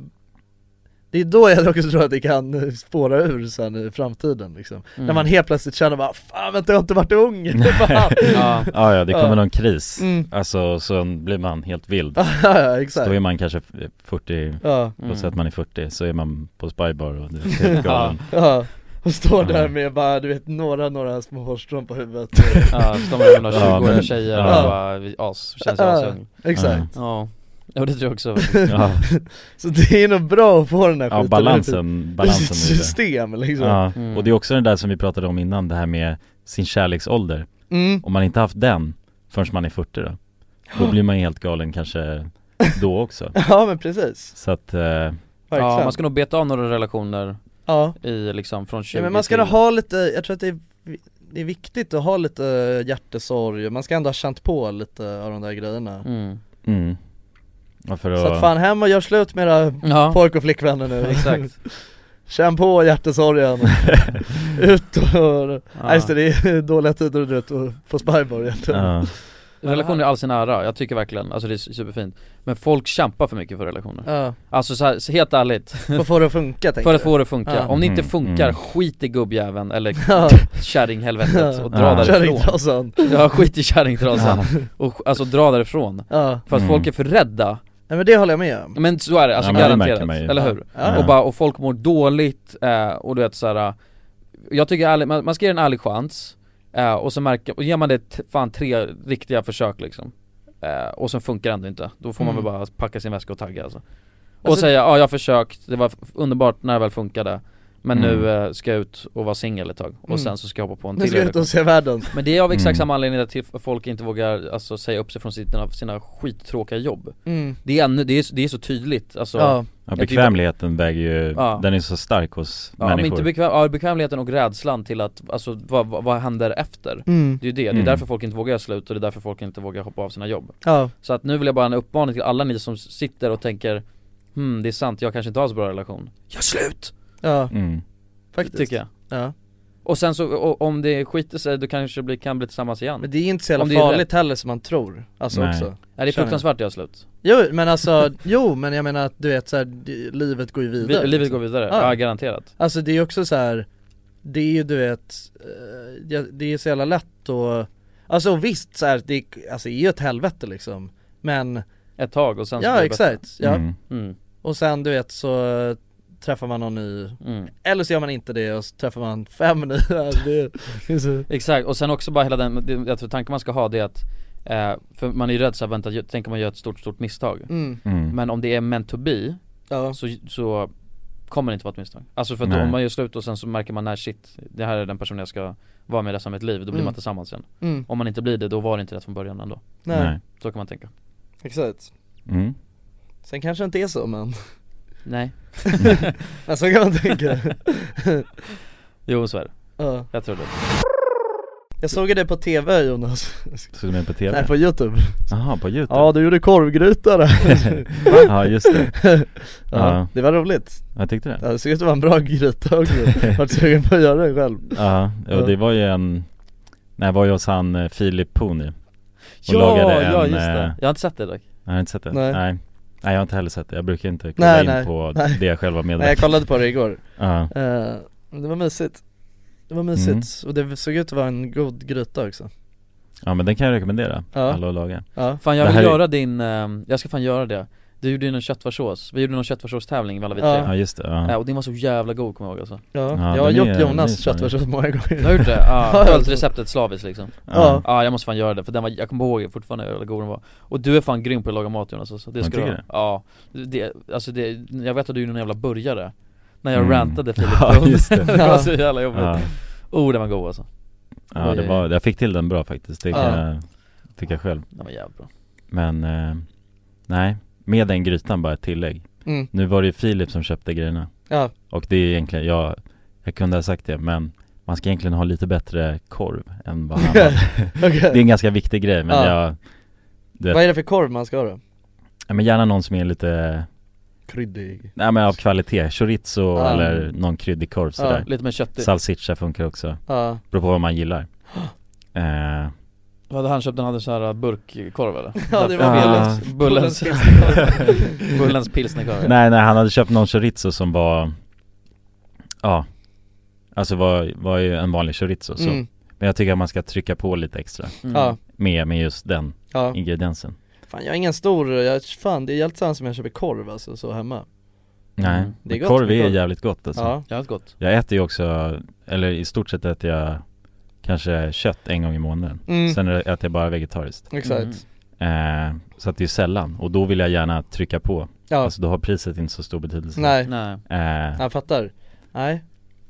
Speaker 4: Det är då jag också tror att det kan eh, spåra ur sen i framtiden liksom
Speaker 5: Mm.
Speaker 3: Mm.
Speaker 4: När man helt plötsligt känner bara 'Fan vänta jag har inte varit ung' Fan.
Speaker 5: ja.
Speaker 3: Ja, ja, det kommer
Speaker 4: Ja.
Speaker 3: någon kris
Speaker 4: mm.
Speaker 3: Alltså så blir man helt vild
Speaker 4: ja, ja exakt
Speaker 3: Då är man kanske 40,
Speaker 4: Ja,
Speaker 3: låt säga att
Speaker 5: Mm.
Speaker 3: man är 40 så är man på spybar och det är helt galen
Speaker 4: ja och står där
Speaker 3: Ja.
Speaker 4: med bara du vet några, några små hårstrån på huvudet
Speaker 5: Ja, står man med några
Speaker 3: Ja,
Speaker 5: 20-åriga
Speaker 3: men-
Speaker 5: tjejer
Speaker 3: ja.
Speaker 5: och bara, vi- as, känns jag asung
Speaker 4: Exakt,
Speaker 5: Ja, ja det tror jag också
Speaker 3: Ja,
Speaker 4: så det är nog bra att få den här
Speaker 3: ja
Speaker 4: skiten ur
Speaker 3: balansen,
Speaker 4: sitt- ur sitt
Speaker 3: balansen i det
Speaker 4: system liksom
Speaker 3: Ja,
Speaker 5: Mm.
Speaker 3: och det är också det där som vi pratade om innan, det här med sin kärleksålder
Speaker 4: Mm.
Speaker 3: Om man inte haft den förrän man är 40 då Då blir man ju helt galen kanske då också
Speaker 4: Ja men precis,
Speaker 3: Så att, eh,
Speaker 4: verkligen
Speaker 5: Ja, man ska nog beta av några relationer
Speaker 4: ja.
Speaker 5: i liksom från 20
Speaker 4: ja men man ska
Speaker 5: till...
Speaker 4: nog ha lite, jag tror att det är, det är viktigt att ha lite hjärtesorg, man ska ändå ha känt på lite av de där grejerna
Speaker 5: mm.
Speaker 3: mm Ja, för
Speaker 4: Så att
Speaker 3: att,
Speaker 4: fan hem och gör slut med era
Speaker 5: Ja,
Speaker 4: pojk och flickvänner nu
Speaker 5: exakt
Speaker 4: Känn på hjärtesorgen, ut och, nej
Speaker 5: Ja.
Speaker 4: just det, det är dåliga tider och du vet, och på Spybar egentligen
Speaker 3: ja,
Speaker 5: Relationer i all sin ära, jag tycker verkligen, alltså det är superfint Men folk kämpar för mycket för relationer
Speaker 4: Ja,
Speaker 5: Alltså så här, så helt ärligt,
Speaker 4: för att få det att funka tänker
Speaker 5: för att få det att funka,
Speaker 4: Ja.
Speaker 5: om det inte
Speaker 3: Mm,
Speaker 5: funkar,
Speaker 3: mm.
Speaker 5: skit i gubbjäveln eller
Speaker 4: du Ja,
Speaker 5: kärringhelvetet och dra
Speaker 3: Ja.
Speaker 5: därifrån
Speaker 4: kärringtrasan
Speaker 5: Ja skit i kärringtrasan, och alltså dra därifrån
Speaker 4: Ja,
Speaker 5: För att
Speaker 3: Mm.
Speaker 5: folk är för rädda,
Speaker 4: nej men det håller jag med om
Speaker 5: men så är det, alltså
Speaker 3: Ja, men det märker
Speaker 5: garanterat,
Speaker 3: man ju.
Speaker 5: eller hur?
Speaker 4: Ja,
Speaker 5: Och bara, och folk mår dåligt, eh, och du vet såhär Jag tycker ärligt, man, man ska ge en ärlig chans, eh, och så märker, och ger man det t- fan tre riktiga försök liksom eh, Och sen funkar det ändå inte, då får man
Speaker 4: Mm.
Speaker 5: väl bara packa sin väska och tagga alltså. Och
Speaker 4: Alltså-
Speaker 5: säga, ja jag har försökt, det var f- underbart när det väl funkade Men
Speaker 3: Mm.
Speaker 5: nu eh, ska jag ut och vara singel ett tag och
Speaker 4: Mm.
Speaker 5: sen så ska jag hoppa på en
Speaker 4: Nu
Speaker 5: till
Speaker 4: ska jag ut och se världen
Speaker 5: Men det är av exakt
Speaker 3: Mm.
Speaker 5: samma anledning till att folk inte vågar alltså, säga upp sig från sina, sina skittråkiga jobb
Speaker 4: mm.
Speaker 5: Det är, ännu, det, är, så- det är så tydligt alltså
Speaker 4: Ja,
Speaker 3: Ja,
Speaker 5: tycker-
Speaker 3: bekvämligheten väger ju,
Speaker 5: Ja.
Speaker 3: den är så stark hos
Speaker 5: Ja, men
Speaker 3: människor
Speaker 5: inte bekväm, ja, bekvämligheten och rädslan till att, alltså vad, vad, vad händer efter?
Speaker 4: mm.
Speaker 5: Det är ju det,
Speaker 3: Mm.
Speaker 5: det är därför folk inte vågar göra slut och det är därför folk inte vågar hoppa av sina jobb
Speaker 4: ja,
Speaker 5: Så att nu vill jag bara ha en uppmaning till alla ni som sitter och tänker Hmm, det är sant, jag kanske inte har så bra relation Gör slut!
Speaker 4: ja,
Speaker 3: mm.
Speaker 4: faktiskt
Speaker 5: Tycker jag
Speaker 4: Ja.
Speaker 5: Och sen så, och, om det skiter sig, då kanske det blir, kan bli tillsammans igen
Speaker 4: Men det är inte så jävla
Speaker 5: Om det är
Speaker 4: farligt heller som man tror, alltså
Speaker 3: Nej.
Speaker 4: också
Speaker 5: Nej det är
Speaker 4: Känner jag.
Speaker 5: fruktansvärt att göra slut
Speaker 4: Jo men alltså, jo men jag menar att du vet såhär, livet går ju vidare liksom.
Speaker 5: Vi, Livet går vidare,
Speaker 4: Ja.
Speaker 5: ja, garanterat
Speaker 4: Alltså det är också så här. det är ju du vet, eh, ja, det är så jävla lätt och Alltså och visst så här, det, är- alltså, det är ju ett helvete liksom Men,
Speaker 5: Ett tag och sen så blir
Speaker 4: ja
Speaker 5: det bättre.
Speaker 4: exakt, ja
Speaker 3: Mm.
Speaker 5: mm,
Speaker 4: Och sen du vet så eh, träffar man någon ny,
Speaker 5: mm.
Speaker 4: eller så gör man inte det och så träffar man fem nya det, det är så...
Speaker 5: Exakt, och sen också bara hela den, det- jag tror tanken man ska ha det är att eh, För man är ju rädd såhär, vänta, ju- tänk om man gör ett stort, stort misstag
Speaker 4: Mm,
Speaker 3: Mm.
Speaker 5: Men om det är meant to be,
Speaker 4: ja,
Speaker 5: så, så kommer det inte vara ett misstag Alltså för att då,
Speaker 3: Nej.
Speaker 5: om man gör slut och sen så märker man när shit, det här är den personen jag ska vara med resten av mitt liv, då blir
Speaker 4: Mm.
Speaker 5: man tillsammans igen
Speaker 4: mm,
Speaker 5: Om man inte blir det, då var det inte rätt från början ändå
Speaker 4: nej,
Speaker 3: Nej.
Speaker 5: Så kan man tänka
Speaker 4: exakt
Speaker 3: Mm.
Speaker 4: Sen kanske det inte är så men,
Speaker 5: Nej
Speaker 4: men så kan man tänka
Speaker 5: Jo så är det,
Speaker 4: ja.
Speaker 5: jag tror det
Speaker 4: Jag såg ju det på tv Jonas,
Speaker 3: Såg du mig på
Speaker 4: nej
Speaker 3: TV?
Speaker 4: på youtube
Speaker 3: Jaha, på Youtube?
Speaker 4: Ja du gjorde korvgryta där
Speaker 3: ja just det,
Speaker 4: ja,
Speaker 3: Ja.
Speaker 4: Det var roligt,
Speaker 3: jag tyckte det
Speaker 4: ja, det såg ut att vara en bra gryta också, vart sugen på att göra det själv
Speaker 3: Ja,
Speaker 4: Ja.
Speaker 3: och det var ju en Nej, jag var ju hos han eh, Filip Pony
Speaker 5: Ja,
Speaker 3: lagade en,
Speaker 5: ja just
Speaker 3: eh,
Speaker 5: det, jag har inte sett det dock
Speaker 3: Jag har inte sett det?
Speaker 4: Nej.
Speaker 3: Nej Nej, jag har inte heller sett det, jag brukar inte kolla
Speaker 4: Nej,
Speaker 3: in
Speaker 4: nej,
Speaker 3: på
Speaker 4: nej.
Speaker 3: det jag själv var
Speaker 4: Nej jag
Speaker 3: medveten
Speaker 4: kollade på det igår,
Speaker 3: Ja,
Speaker 4: Eh, men det var mysigt Det var mysigt,
Speaker 3: Mm.
Speaker 4: och det såg ut att vara en god gryta också
Speaker 3: ja men den kan jag rekommendera,
Speaker 4: Ja.
Speaker 3: alla att laga
Speaker 4: Ja,
Speaker 5: Fan jag
Speaker 3: Det
Speaker 5: vill
Speaker 3: här är-
Speaker 5: göra din, eh, jag ska fan göra det Du gjorde ju någon köttfärssås, vi gjorde någon köttfärssås-tävling med alla vi tre
Speaker 4: Ja.
Speaker 3: Ja just det, ja,
Speaker 5: Eh, Och din var så jävla god kommer jag ihåg alltså
Speaker 4: ja,
Speaker 3: Ja,
Speaker 4: jag har
Speaker 3: den
Speaker 4: gjort
Speaker 3: är- den är
Speaker 4: Jonas
Speaker 3: så här.
Speaker 4: köttfärssås många gånger
Speaker 5: Du har gjort det?
Speaker 4: Ja,
Speaker 5: Ja, följt
Speaker 4: alltså.
Speaker 5: receptet slaviskt liksom
Speaker 4: Ja.
Speaker 5: Ja jag måste fan göra det för den var, jag kommer ihåg fortfarande hur jävla god den var Och du är fan grym på att laga mat Jonas alltså, det
Speaker 3: Man
Speaker 5: ska du
Speaker 3: tycker
Speaker 5: ha.
Speaker 3: det?
Speaker 5: Ja, det, alltså det, jag vet att du är någon jävla burgare När jag
Speaker 3: Mm.
Speaker 5: rantade Filip
Speaker 3: Ja,
Speaker 5: Blom.
Speaker 3: just det.
Speaker 5: det var så jävla jobbigt
Speaker 3: ja.
Speaker 5: Oh den var god alltså,
Speaker 3: ja det var, jag fick till den bra faktiskt, det kan
Speaker 4: Ja.
Speaker 3: jag tycka själv
Speaker 5: den var jävligt bra
Speaker 3: Men, eh, nej, med den grytan bara ett tillägg
Speaker 4: mm.
Speaker 3: Nu var det ju Filip som köpte grejerna
Speaker 4: Ja,
Speaker 3: Och det är egentligen, jag, jag kunde ha sagt det men man ska egentligen ha lite bättre korv än vad han hade
Speaker 4: okej
Speaker 3: Det är en ganska viktig grej men
Speaker 4: Ja.
Speaker 3: jag, du
Speaker 4: Vad
Speaker 3: vet,
Speaker 4: är det för korv man ska ha då?
Speaker 3: ja, men gärna någon som är lite,
Speaker 4: Kryddig
Speaker 3: nej men av kvalitet, chorizo
Speaker 4: Ja.
Speaker 3: eller någon kryddig korv sådär
Speaker 5: Lite mer kött
Speaker 3: Salsiccia funkar också,
Speaker 4: Ja,
Speaker 3: beror på vad man gillar eh,
Speaker 5: Vad hade han köpt? Den hade sån här uh, burkkorv eller?
Speaker 4: Ja, det var
Speaker 3: Ah.
Speaker 5: Bullens-
Speaker 3: Bullens-
Speaker 5: Bullens
Speaker 4: pilsnerkorv.
Speaker 5: Bullens pilsnerkorv
Speaker 3: Nej nej, han hade köpt någon chorizo som var, ja Alltså var, var ju en vanlig chorizo så,
Speaker 4: mm.
Speaker 3: men jag tycker att man ska trycka på lite extra
Speaker 5: Mm.
Speaker 4: ja,
Speaker 3: med, med just den
Speaker 4: ja
Speaker 3: ingrediensen
Speaker 4: Fan jag är ingen stor, jag, fan det är helt sant som jag köper korv alltså så hemma
Speaker 3: Nej,
Speaker 5: Mm.
Speaker 4: Det är
Speaker 3: men
Speaker 4: gott,
Speaker 3: korv
Speaker 4: det är
Speaker 3: är
Speaker 4: gott.
Speaker 3: jävligt gott alltså.
Speaker 4: Ja,
Speaker 5: Jävligt gott
Speaker 3: Jag äter ju också, eller i stort sett äter jag kanske kött en gång i månaden
Speaker 4: Mm.
Speaker 3: Sen äter jag bara vegetariskt
Speaker 4: exakt
Speaker 5: Mm.
Speaker 3: eh, Så att det är sällan, och då vill jag gärna trycka på
Speaker 4: Ja,
Speaker 3: Alltså då har priset inte så stor betydelse
Speaker 4: nej,
Speaker 5: Nej
Speaker 3: Eh,
Speaker 4: jag fattar Nej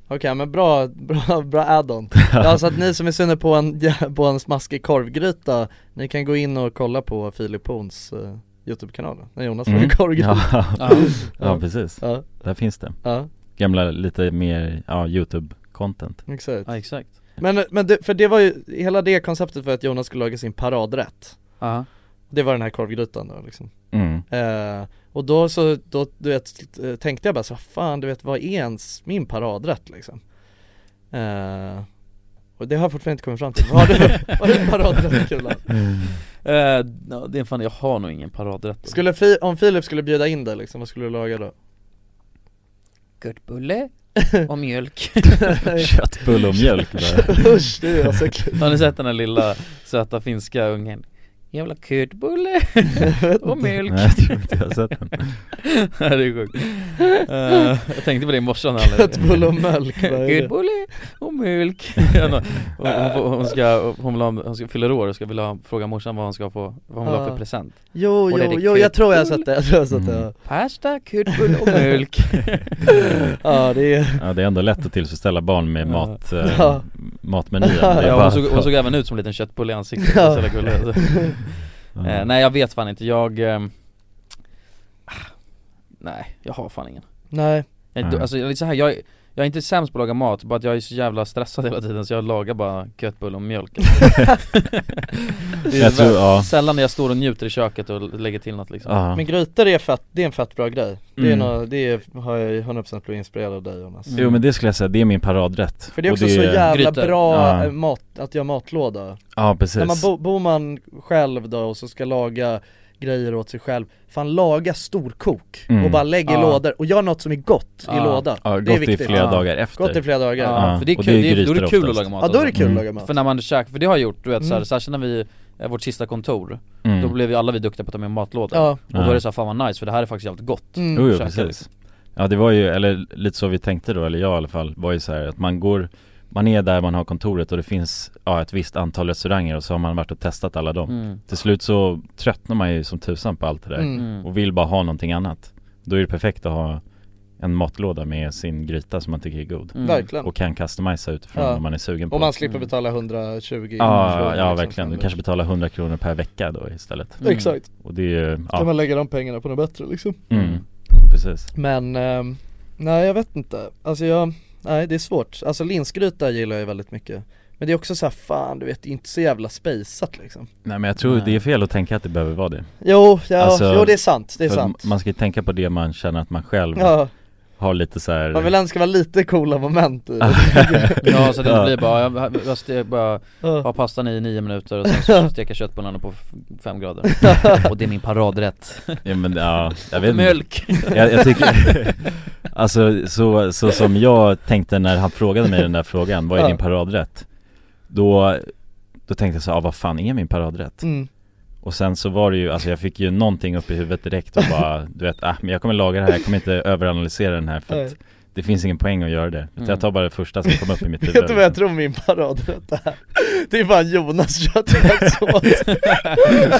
Speaker 4: Okej men bra, bra, bra add-on Ja så att ni som är sugna på en, ja, på en smaskig korvgryta Ni kan gå in och kolla på Filip Horns eh, Youtube-kanal när Jonas
Speaker 3: Mm.
Speaker 4: lagar korvgryta
Speaker 3: ja.
Speaker 5: Ja.
Speaker 3: ja, precis.
Speaker 4: ja.
Speaker 3: Där finns det
Speaker 4: ja,
Speaker 3: Gamla, lite mer, ja, youtube-content
Speaker 4: exakt
Speaker 5: Ja exakt
Speaker 4: Men, men det, för det var ju, hela det konceptet för att Jonas skulle laga sin paradrätt
Speaker 5: Ja
Speaker 4: Det var den här korvgrytan då liksom
Speaker 3: mm.
Speaker 4: Eh, och då så, då, du vet, eh, tänkte jag bara så "Vad fan du vet vad är ens min paradrätt liksom? Eh, och det har jag fortfarande inte kommit fram till, vad har du, vad är din paradrätt Kulan?
Speaker 5: Eh, ja, det är fan, jag har nog ingen paradrätt
Speaker 4: Skulle Fi, om Filip skulle bjuda in dig liksom, vad skulle du laga då?
Speaker 5: Gurkbulle och mjölk
Speaker 3: Köttbulle och mjölk bara.
Speaker 4: Usch, det är alltså äckligt
Speaker 5: Har ni sett den här lilla söta finska ungen? Jävla köttbulle och mjölk
Speaker 3: Nej, jag tror inte jag har sett den.
Speaker 5: Det är sjukt Eh, Jag tänkte på det i morse när
Speaker 4: Köttbulle och mjölk, vad är det?
Speaker 5: Köttbulle och mjölk hon, hon, får- hon, ska, hon, vill ha, hon ska fylla år och ska vilja ha, fråga morsan vad hon ska få, vad hon vill ha för
Speaker 4: Ah.
Speaker 5: present
Speaker 4: Jo,
Speaker 5: Och det är
Speaker 4: jo,
Speaker 5: det
Speaker 4: jo, jag tror jag har
Speaker 5: kul.
Speaker 4: sett det, jag tror jag har sett det
Speaker 3: Mm.
Speaker 5: Pasta, köttbulle och mjölk
Speaker 3: Mm.
Speaker 4: Ja det är,
Speaker 3: Ja, det är ändå lätt att tillfredsställa barn med
Speaker 5: Ja.
Speaker 3: mat, eh,
Speaker 4: Ja.
Speaker 3: matmenyn. Det är
Speaker 5: ja,
Speaker 3: bara-
Speaker 5: hon, såg, hon såg även ut som en liten köttbulle i ansiktet,
Speaker 4: Ja.
Speaker 5: ja. så jävla gullig alltså.
Speaker 3: Ja.
Speaker 5: Eh, Nej jag vet fan inte, jag ehm, ah, Nej, jag har fan ingen
Speaker 4: nej
Speaker 5: Jag,
Speaker 3: Nej.
Speaker 5: då, alltså, jag, är lite så här, jag, är- jag är inte sämst på att laga mat, bara att jag är så jävla stressad hela tiden så jag lagar bara köttbullar och mjölk Det är
Speaker 3: Jag tror,
Speaker 5: väl-
Speaker 3: ja.
Speaker 5: Sällan när jag står och njuter i köket och lägger till något liksom
Speaker 3: Ja.
Speaker 4: Men grytor är fett, det är en fett bra grej Det är
Speaker 3: Mm.
Speaker 4: nå, det är, har jag ju 100% blivit inspirerad av dig Jonas
Speaker 3: Jo men det skulle jag säga, det är min paradrätt.
Speaker 4: För det är
Speaker 3: Och
Speaker 4: också så jävla
Speaker 5: Grytor.
Speaker 4: bra
Speaker 3: Ja.
Speaker 4: eh, mat, att göra matlåda
Speaker 3: Ja precis.
Speaker 4: När man bo, bor man själv då och så ska laga grejer åt sig själv Fan laga storkok
Speaker 3: Mm.
Speaker 4: och bara lägg i
Speaker 5: Ja.
Speaker 4: lådor och gör något som är gott i
Speaker 5: Ja.
Speaker 4: låda
Speaker 3: ja,
Speaker 4: Det är
Speaker 3: gott i
Speaker 4: viktigt
Speaker 3: flera
Speaker 5: Ja.
Speaker 3: dagar efter.
Speaker 4: Gott i flera
Speaker 5: Ja,
Speaker 4: dagar Ja,
Speaker 3: Ja,
Speaker 5: för det är
Speaker 3: och
Speaker 5: kul,
Speaker 3: det är
Speaker 5: det är, då är det
Speaker 3: grytor
Speaker 5: kul att
Speaker 3: oftast.
Speaker 5: laga mat alltså.
Speaker 4: då är det kul
Speaker 3: Mm.
Speaker 4: att laga mat
Speaker 5: För när man käkar, för det har jag gjort, du vet så här,
Speaker 4: Mm.
Speaker 5: särskilt när vi, eh, vårt sista kontor,
Speaker 3: Mm.
Speaker 5: då blev ju alla vi duktiga på att ta med matlådor
Speaker 4: Ja,
Speaker 5: Och då är det så här, fan vad nice för det här är faktiskt jävligt gott
Speaker 4: mm.
Speaker 3: Jo, jo
Speaker 5: käkar
Speaker 3: precis.
Speaker 5: liksom.
Speaker 3: Ja det var ju, eller lite så vi tänkte då, eller jag i alla fall, var ju så här att man går man är där man har kontoret och det finns ja, ett visst antal restauranger och så har man varit och testat alla dem.
Speaker 5: mm.
Speaker 3: Till slut så tröttnar man ju som tusan på allt det där
Speaker 4: Mm.
Speaker 5: Mm.
Speaker 3: och vill bara ha någonting annat. Då är det perfekt att ha en matlåda med sin gryta som man tycker är god
Speaker 5: Mm.
Speaker 4: Verkligen
Speaker 3: och kan customisa utifrån
Speaker 4: Ja.
Speaker 3: om man är sugen på.
Speaker 4: Och man slipper betala 120
Speaker 3: ja,
Speaker 4: kronor
Speaker 3: ja
Speaker 4: liksom
Speaker 3: verkligen,
Speaker 4: för
Speaker 3: du
Speaker 4: det.
Speaker 3: kanske betalar 100 kronor per vecka då istället.
Speaker 5: Mm.
Speaker 4: Exakt,
Speaker 3: Och det är ju,
Speaker 4: kan
Speaker 3: ja,
Speaker 4: man lägga de pengarna på något bättre liksom
Speaker 3: mm, precis.
Speaker 4: Men, ehm, nej jag vet inte. Alltså jag, nej det är svårt. Alltså linsgryta gillar jag väldigt mycket. Men det är också så här, fan du vet, det är inte så jävla spejsat liksom.
Speaker 3: Nej men jag tror
Speaker 5: Nej.
Speaker 3: det är fel att tänka att det behöver vara det.
Speaker 4: Jo, ja,
Speaker 3: Alltså,
Speaker 4: jo det är sant, det är
Speaker 3: För
Speaker 4: sant.
Speaker 3: Man ska ju tänka på det man känner att man själv
Speaker 4: Ja,
Speaker 3: har lite så här.
Speaker 4: man vill ändå ska vara lite coola moment i
Speaker 5: Ja så det
Speaker 3: Ja.
Speaker 5: blir bara, jag, jag stek bara,
Speaker 4: Ja.
Speaker 5: ha pastan i nio minuter och sen så steka köttbullarna på f- fem grader Och det är min paradrätt
Speaker 3: ja, men, ja, jag vet inte.
Speaker 5: Mjölk!
Speaker 3: Jag, jag tycker, alltså så, så som jag tänkte när han frågade mig den där frågan, vad är
Speaker 4: Ja.
Speaker 3: din paradrätt? Då, då tänkte jag så här, ah, vad fan är min paradrätt?
Speaker 4: Mm.
Speaker 3: Och sen så var det ju, alltså jag fick ju någonting upp i huvudet direkt och bara, du vet, ah, men jag kommer laga det här, jag kommer inte överanalysera den här för att
Speaker 4: Nej.
Speaker 3: det finns ingen poäng att göra det. Utan jag tar bara det första som kom upp i mitt huvud.
Speaker 4: Vet du vad jag tror min paradrätt är? Det är fan Jonas köttfärssås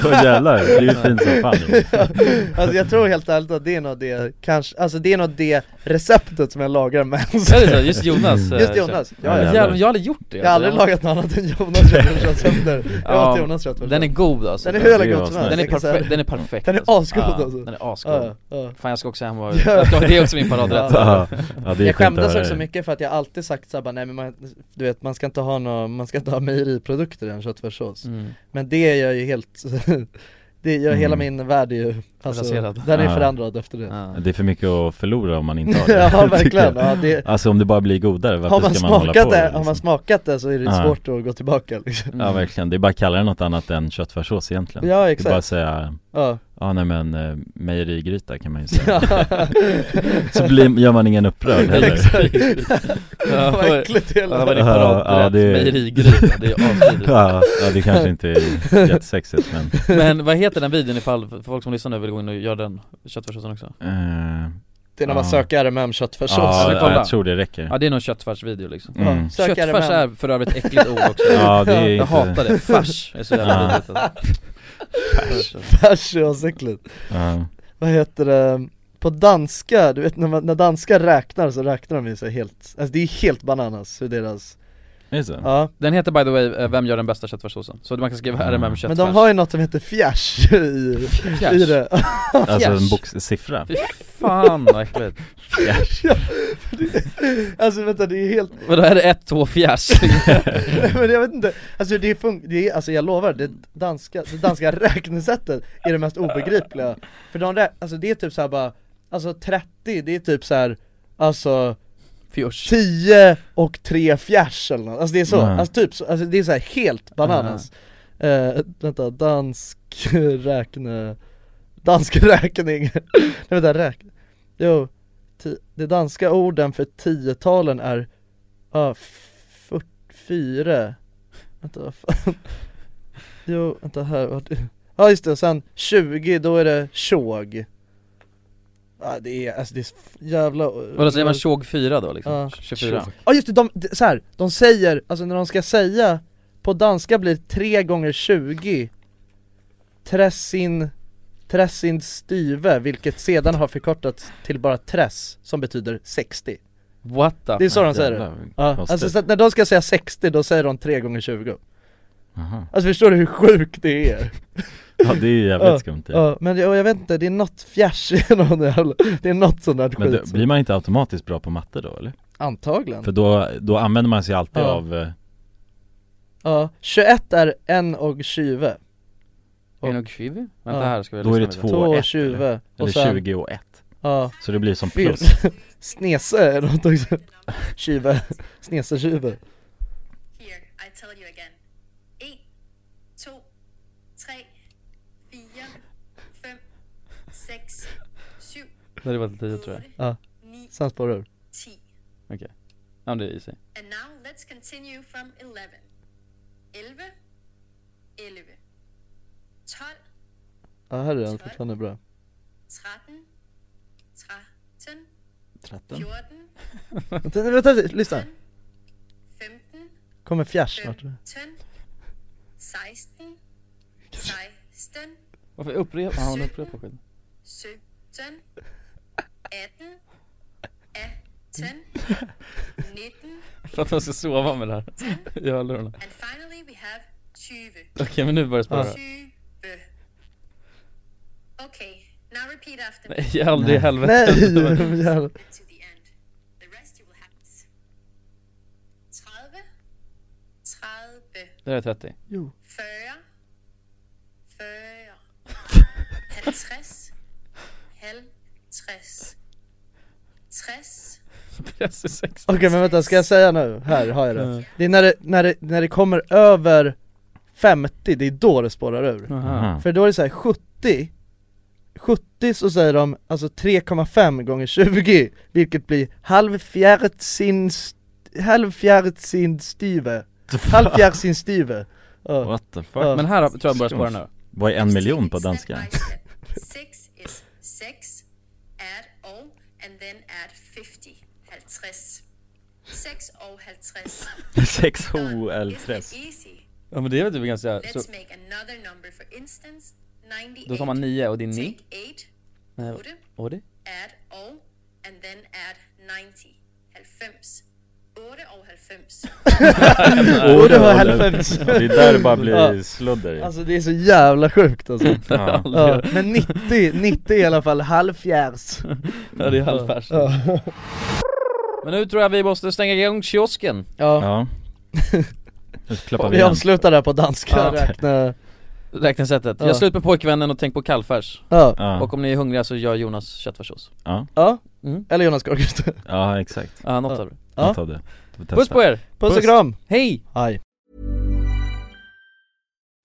Speaker 3: Så jävlar, det är ju fint som fan.
Speaker 4: Alltså jag tror helt ärligt att det är nog det, kanske, alltså det är nog det receptet som jag lagar mest
Speaker 5: Är det så? Just Jonas? eh,
Speaker 4: Just Jonas, ja, ja.
Speaker 5: Jävlar, jag har aldrig gjort det
Speaker 4: Jag har aldrig lagat något annat än Jonas köttfärssås Jag åt
Speaker 5: Ja,
Speaker 4: Jonas köttfärssås
Speaker 5: Den är god alltså
Speaker 4: Den är hur jävla
Speaker 3: Det är
Speaker 4: god
Speaker 3: ju
Speaker 4: som
Speaker 3: asnice.
Speaker 4: helst
Speaker 5: Den är
Speaker 4: jag kan säga
Speaker 5: perfekt,
Speaker 4: det.
Speaker 5: den är perfekt
Speaker 4: Den är
Speaker 5: alltså.
Speaker 4: asgod,
Speaker 5: Ja,
Speaker 4: alltså.
Speaker 5: Den är asgod
Speaker 4: Ja, ja.
Speaker 5: Fan jag ska också hem och,
Speaker 4: Ja.
Speaker 5: jag ska- det är också min paradrätt
Speaker 3: Ja, ja, det är
Speaker 4: Jag
Speaker 3: skönt att
Speaker 4: skämdes
Speaker 3: höra
Speaker 4: också
Speaker 3: det.
Speaker 4: mycket för att jag alltid sagt såhär bara, nej men man, du vet man ska inte ha några, man ska inte ha mejeriprodukter i en köttfärssås
Speaker 5: mm.
Speaker 4: Men det är jag ju helt, det är, jag, hela
Speaker 3: Mm.
Speaker 4: min värld är ju, alltså,
Speaker 5: Raserad.
Speaker 4: den är
Speaker 3: Ja.
Speaker 4: förändrad efter det
Speaker 5: ja.
Speaker 3: Det är för mycket att förlora om man inte har det.
Speaker 4: Ja
Speaker 3: tycker
Speaker 4: verkligen,
Speaker 3: jag.
Speaker 4: ja, det,
Speaker 3: Alltså om det bara blir godare, varför
Speaker 4: har man,
Speaker 3: ska man hålla på
Speaker 4: smakat det,
Speaker 3: liksom?
Speaker 4: har man smakat det så är det
Speaker 3: Ja.
Speaker 4: svårt att gå tillbaka liksom.
Speaker 3: Ja verkligen, det är bara att kalla det något annat än köttfärssås egentligen. Det
Speaker 4: Ja
Speaker 3: är bara att
Speaker 4: exakt,
Speaker 3: säga,
Speaker 4: ja.
Speaker 3: ja nej men eh, mejerigryta kan man ju säga. Så blir, gör man ingen upprörd heller.
Speaker 4: Exakt.
Speaker 5: Ja,
Speaker 4: Vad äckligt det
Speaker 5: Ja, vad är
Speaker 4: låter.
Speaker 5: din
Speaker 3: Ja, ja,
Speaker 5: paradrätt?
Speaker 3: det är-
Speaker 5: Mejerigryta, det är asvidrigt
Speaker 3: Ja, ja, det kanske inte är jättesexigt men,
Speaker 5: Men vad heter den videon ifall för folk som lyssnar nu vill gå in och göra den köttfärssåsen också?
Speaker 3: eh,
Speaker 4: Det är när man
Speaker 3: Ja.
Speaker 4: söker RMM köttfärssås
Speaker 3: ja,
Speaker 5: eller kolla.
Speaker 3: jag tror det räcker.
Speaker 5: Ja det är någon köttfärsvideo liksom
Speaker 3: Mm.
Speaker 4: Sök
Speaker 5: Köttfärs
Speaker 4: RMM.
Speaker 5: är för övrigt ett äckligt ord också
Speaker 3: Ja det är
Speaker 5: Jag hatar det, färs är så
Speaker 3: Ja.
Speaker 5: jävla vidrigt alltså.
Speaker 4: Färs är asäckligt
Speaker 3: Ja.
Speaker 4: Vad heter det? På danska, du vet när, man, när danskar räknar så räknar de ju sig helt, alltså det är helt bananas hur deras,
Speaker 3: Är det så?
Speaker 4: ja
Speaker 5: Den heter by the way, eh, Vem gör den bästa köttfärssåsen? Så man kan skriva
Speaker 3: Mm.
Speaker 5: RMM köttfärs
Speaker 4: Men de har ju något som heter fjärs i,
Speaker 5: Fjärs.
Speaker 4: i det
Speaker 3: Alltså en
Speaker 5: Fjärs.
Speaker 3: box, siffra?
Speaker 5: Fy fan vad äckligt
Speaker 4: Alltså vänta det är helt,
Speaker 5: Vadå är det ett, två, fjärs?
Speaker 4: men jag vet inte, alltså det funkar, det är, alltså jag lovar, det danska, det danska räknesättet är det mest obegripliga För de rä- alltså det är typ såhär bara, alltså 30 det är typ såhär, alltså
Speaker 5: Fjörs
Speaker 4: 10 och 3 fjärs eller något. alltså det är så,
Speaker 3: Mm.
Speaker 4: alltså typ så, alltså det är så här helt bananas Eh, Vänta, dansk räkne, dansk räkning, nej vänta räk, jo, ti, de danska orden för tiotalen är, ja, uh, fyra, vänta vad fan, jo vänta här, vart, Ja just det, och sen 20 då är det tjog Ja det är, alltså det är f- jävla
Speaker 5: Och då säger man tjog 4 då liksom?
Speaker 4: Ja.
Speaker 5: 24
Speaker 4: Ja just det, de, de, så här, de säger, alltså när de ska säga På danska blir 3 gånger 20 Tressin Tressin styve, vilket sedan har förkortats till bara tress, som betyder 60
Speaker 5: What the?
Speaker 4: Det är så de säger det
Speaker 3: Jävlar,
Speaker 4: ja,
Speaker 3: konstigt.
Speaker 4: Alltså så att när de ska säga 60, då säger de 3 gånger 20
Speaker 3: Aha.
Speaker 4: Alltså förstår du hur sjukt det är?
Speaker 3: Ja det är ju jävligt skumt ju.
Speaker 4: Ja, men jag, jag vet inte, det är något fjärs i någon jävla, det är något sånt där
Speaker 3: Men
Speaker 4: skit
Speaker 3: då, blir man inte automatiskt bra på matte då eller?
Speaker 4: Antagligen
Speaker 3: För då, då använder man sig alltid
Speaker 4: Ja.
Speaker 3: av eh,
Speaker 4: Ja, 21 är en och 20
Speaker 5: Är det nog 20? Vänta
Speaker 4: Ja.
Speaker 5: här ska vi
Speaker 3: Då är
Speaker 5: lyssna
Speaker 3: det
Speaker 5: lite.
Speaker 3: två. ett,
Speaker 4: Två och
Speaker 3: eller?
Speaker 4: 20
Speaker 3: eller
Speaker 4: och sen,
Speaker 3: 20 och 1
Speaker 4: ja,
Speaker 3: Så det blir som
Speaker 4: fel.
Speaker 3: plus
Speaker 4: Snese är något också Tjuve, snese-tjuve
Speaker 7: Here, I tell you again. 1, 2, 3, 4, 5, 6, 7,
Speaker 5: Det hade varit 10 tror jag
Speaker 7: 8,
Speaker 4: Ja,
Speaker 7: 9,
Speaker 4: sen spårar ur
Speaker 7: 10.
Speaker 5: Ja men det är easy
Speaker 7: And now let's continue from 11. 11, 11, 12,
Speaker 4: Ja, här är den fortfarande bra
Speaker 7: 13, 13,
Speaker 4: 13
Speaker 7: 14,
Speaker 4: Vänta, vänta, lyssna
Speaker 7: 15,
Speaker 4: Kommer fjärs snart
Speaker 7: 15, 16, 16,
Speaker 5: Varför upprepar han? upprepar skit
Speaker 7: 17, 18, 18, 19,
Speaker 5: För att han ska sova med det här i hörlurarna
Speaker 7: and finally we have 20.
Speaker 5: Okej men nu börjar det spåra
Speaker 7: 20. Okay, now repeat after me
Speaker 5: Nej jag aldrig i helvete
Speaker 4: Nej! de jävla-
Speaker 7: to the end. The rest you will have. 30, 30,
Speaker 5: Det här är 30
Speaker 4: Jo,
Speaker 7: 40, 40, 50, 50, 30,
Speaker 5: Press är 60
Speaker 4: okej men vänta, ska jag säga nu? Här har jag det Det är när det, när det, när det kommer över 50, det är då det spårar ur
Speaker 3: Aha.
Speaker 4: För då är det så här 70 70 så säger de alltså 3,5 gånger 20 Vilket blir halvfjärdsin halvfjärdsin styve Halvfjärdsin styve Ja.
Speaker 3: What the fuck?
Speaker 4: Ja.
Speaker 5: Men här har- tror jag börjar spåra nu
Speaker 3: Vad är en miljon på danska?
Speaker 7: Step by step. Six is six, add O, and then add 50. 50. Six O 50.
Speaker 3: 6 O
Speaker 7: Done.
Speaker 3: L
Speaker 7: Isn't it
Speaker 3: 3
Speaker 7: easy?
Speaker 5: Ja men det är väl typ ganska,
Speaker 7: Let's
Speaker 5: så,
Speaker 7: make another number. For instance, 98.
Speaker 5: då tar man 9 och det är 9
Speaker 7: Take 8,
Speaker 5: Nej
Speaker 7: otte,
Speaker 5: vad det?
Speaker 7: add O, and then add 90. 90. 8 O 90.
Speaker 4: Och det var
Speaker 3: Det är där det bara blir sludder i.
Speaker 4: Alltså det är så jävla sjukt alltså
Speaker 3: ja.
Speaker 4: ja. Men 90, 90 i alla fall halvfjärds
Speaker 5: Ja det är halvfärs Men nu tror jag vi måste stänga igång kiosken
Speaker 4: Ja,
Speaker 3: ja. Nu klappar vi
Speaker 4: vi
Speaker 3: igen.
Speaker 4: avslutar där på danska,
Speaker 5: Ja.
Speaker 4: räkna
Speaker 5: Räknesättet,
Speaker 4: Ja.
Speaker 5: gör slut med pojkvännen och tänk på kallfärs
Speaker 4: Ja,
Speaker 3: Ja.
Speaker 5: Och om ni är hungriga så gör Jonas köttfärssås
Speaker 4: ja,
Speaker 5: Mm.
Speaker 4: eller Jonas Gorgust
Speaker 3: ja, exakt.
Speaker 5: Ja, något
Speaker 4: Ja.
Speaker 5: av det
Speaker 4: Ja.
Speaker 3: Jag tar det. Vi testar.
Speaker 5: Puss på er!
Speaker 4: Puss och kram,
Speaker 5: Hej!
Speaker 4: hej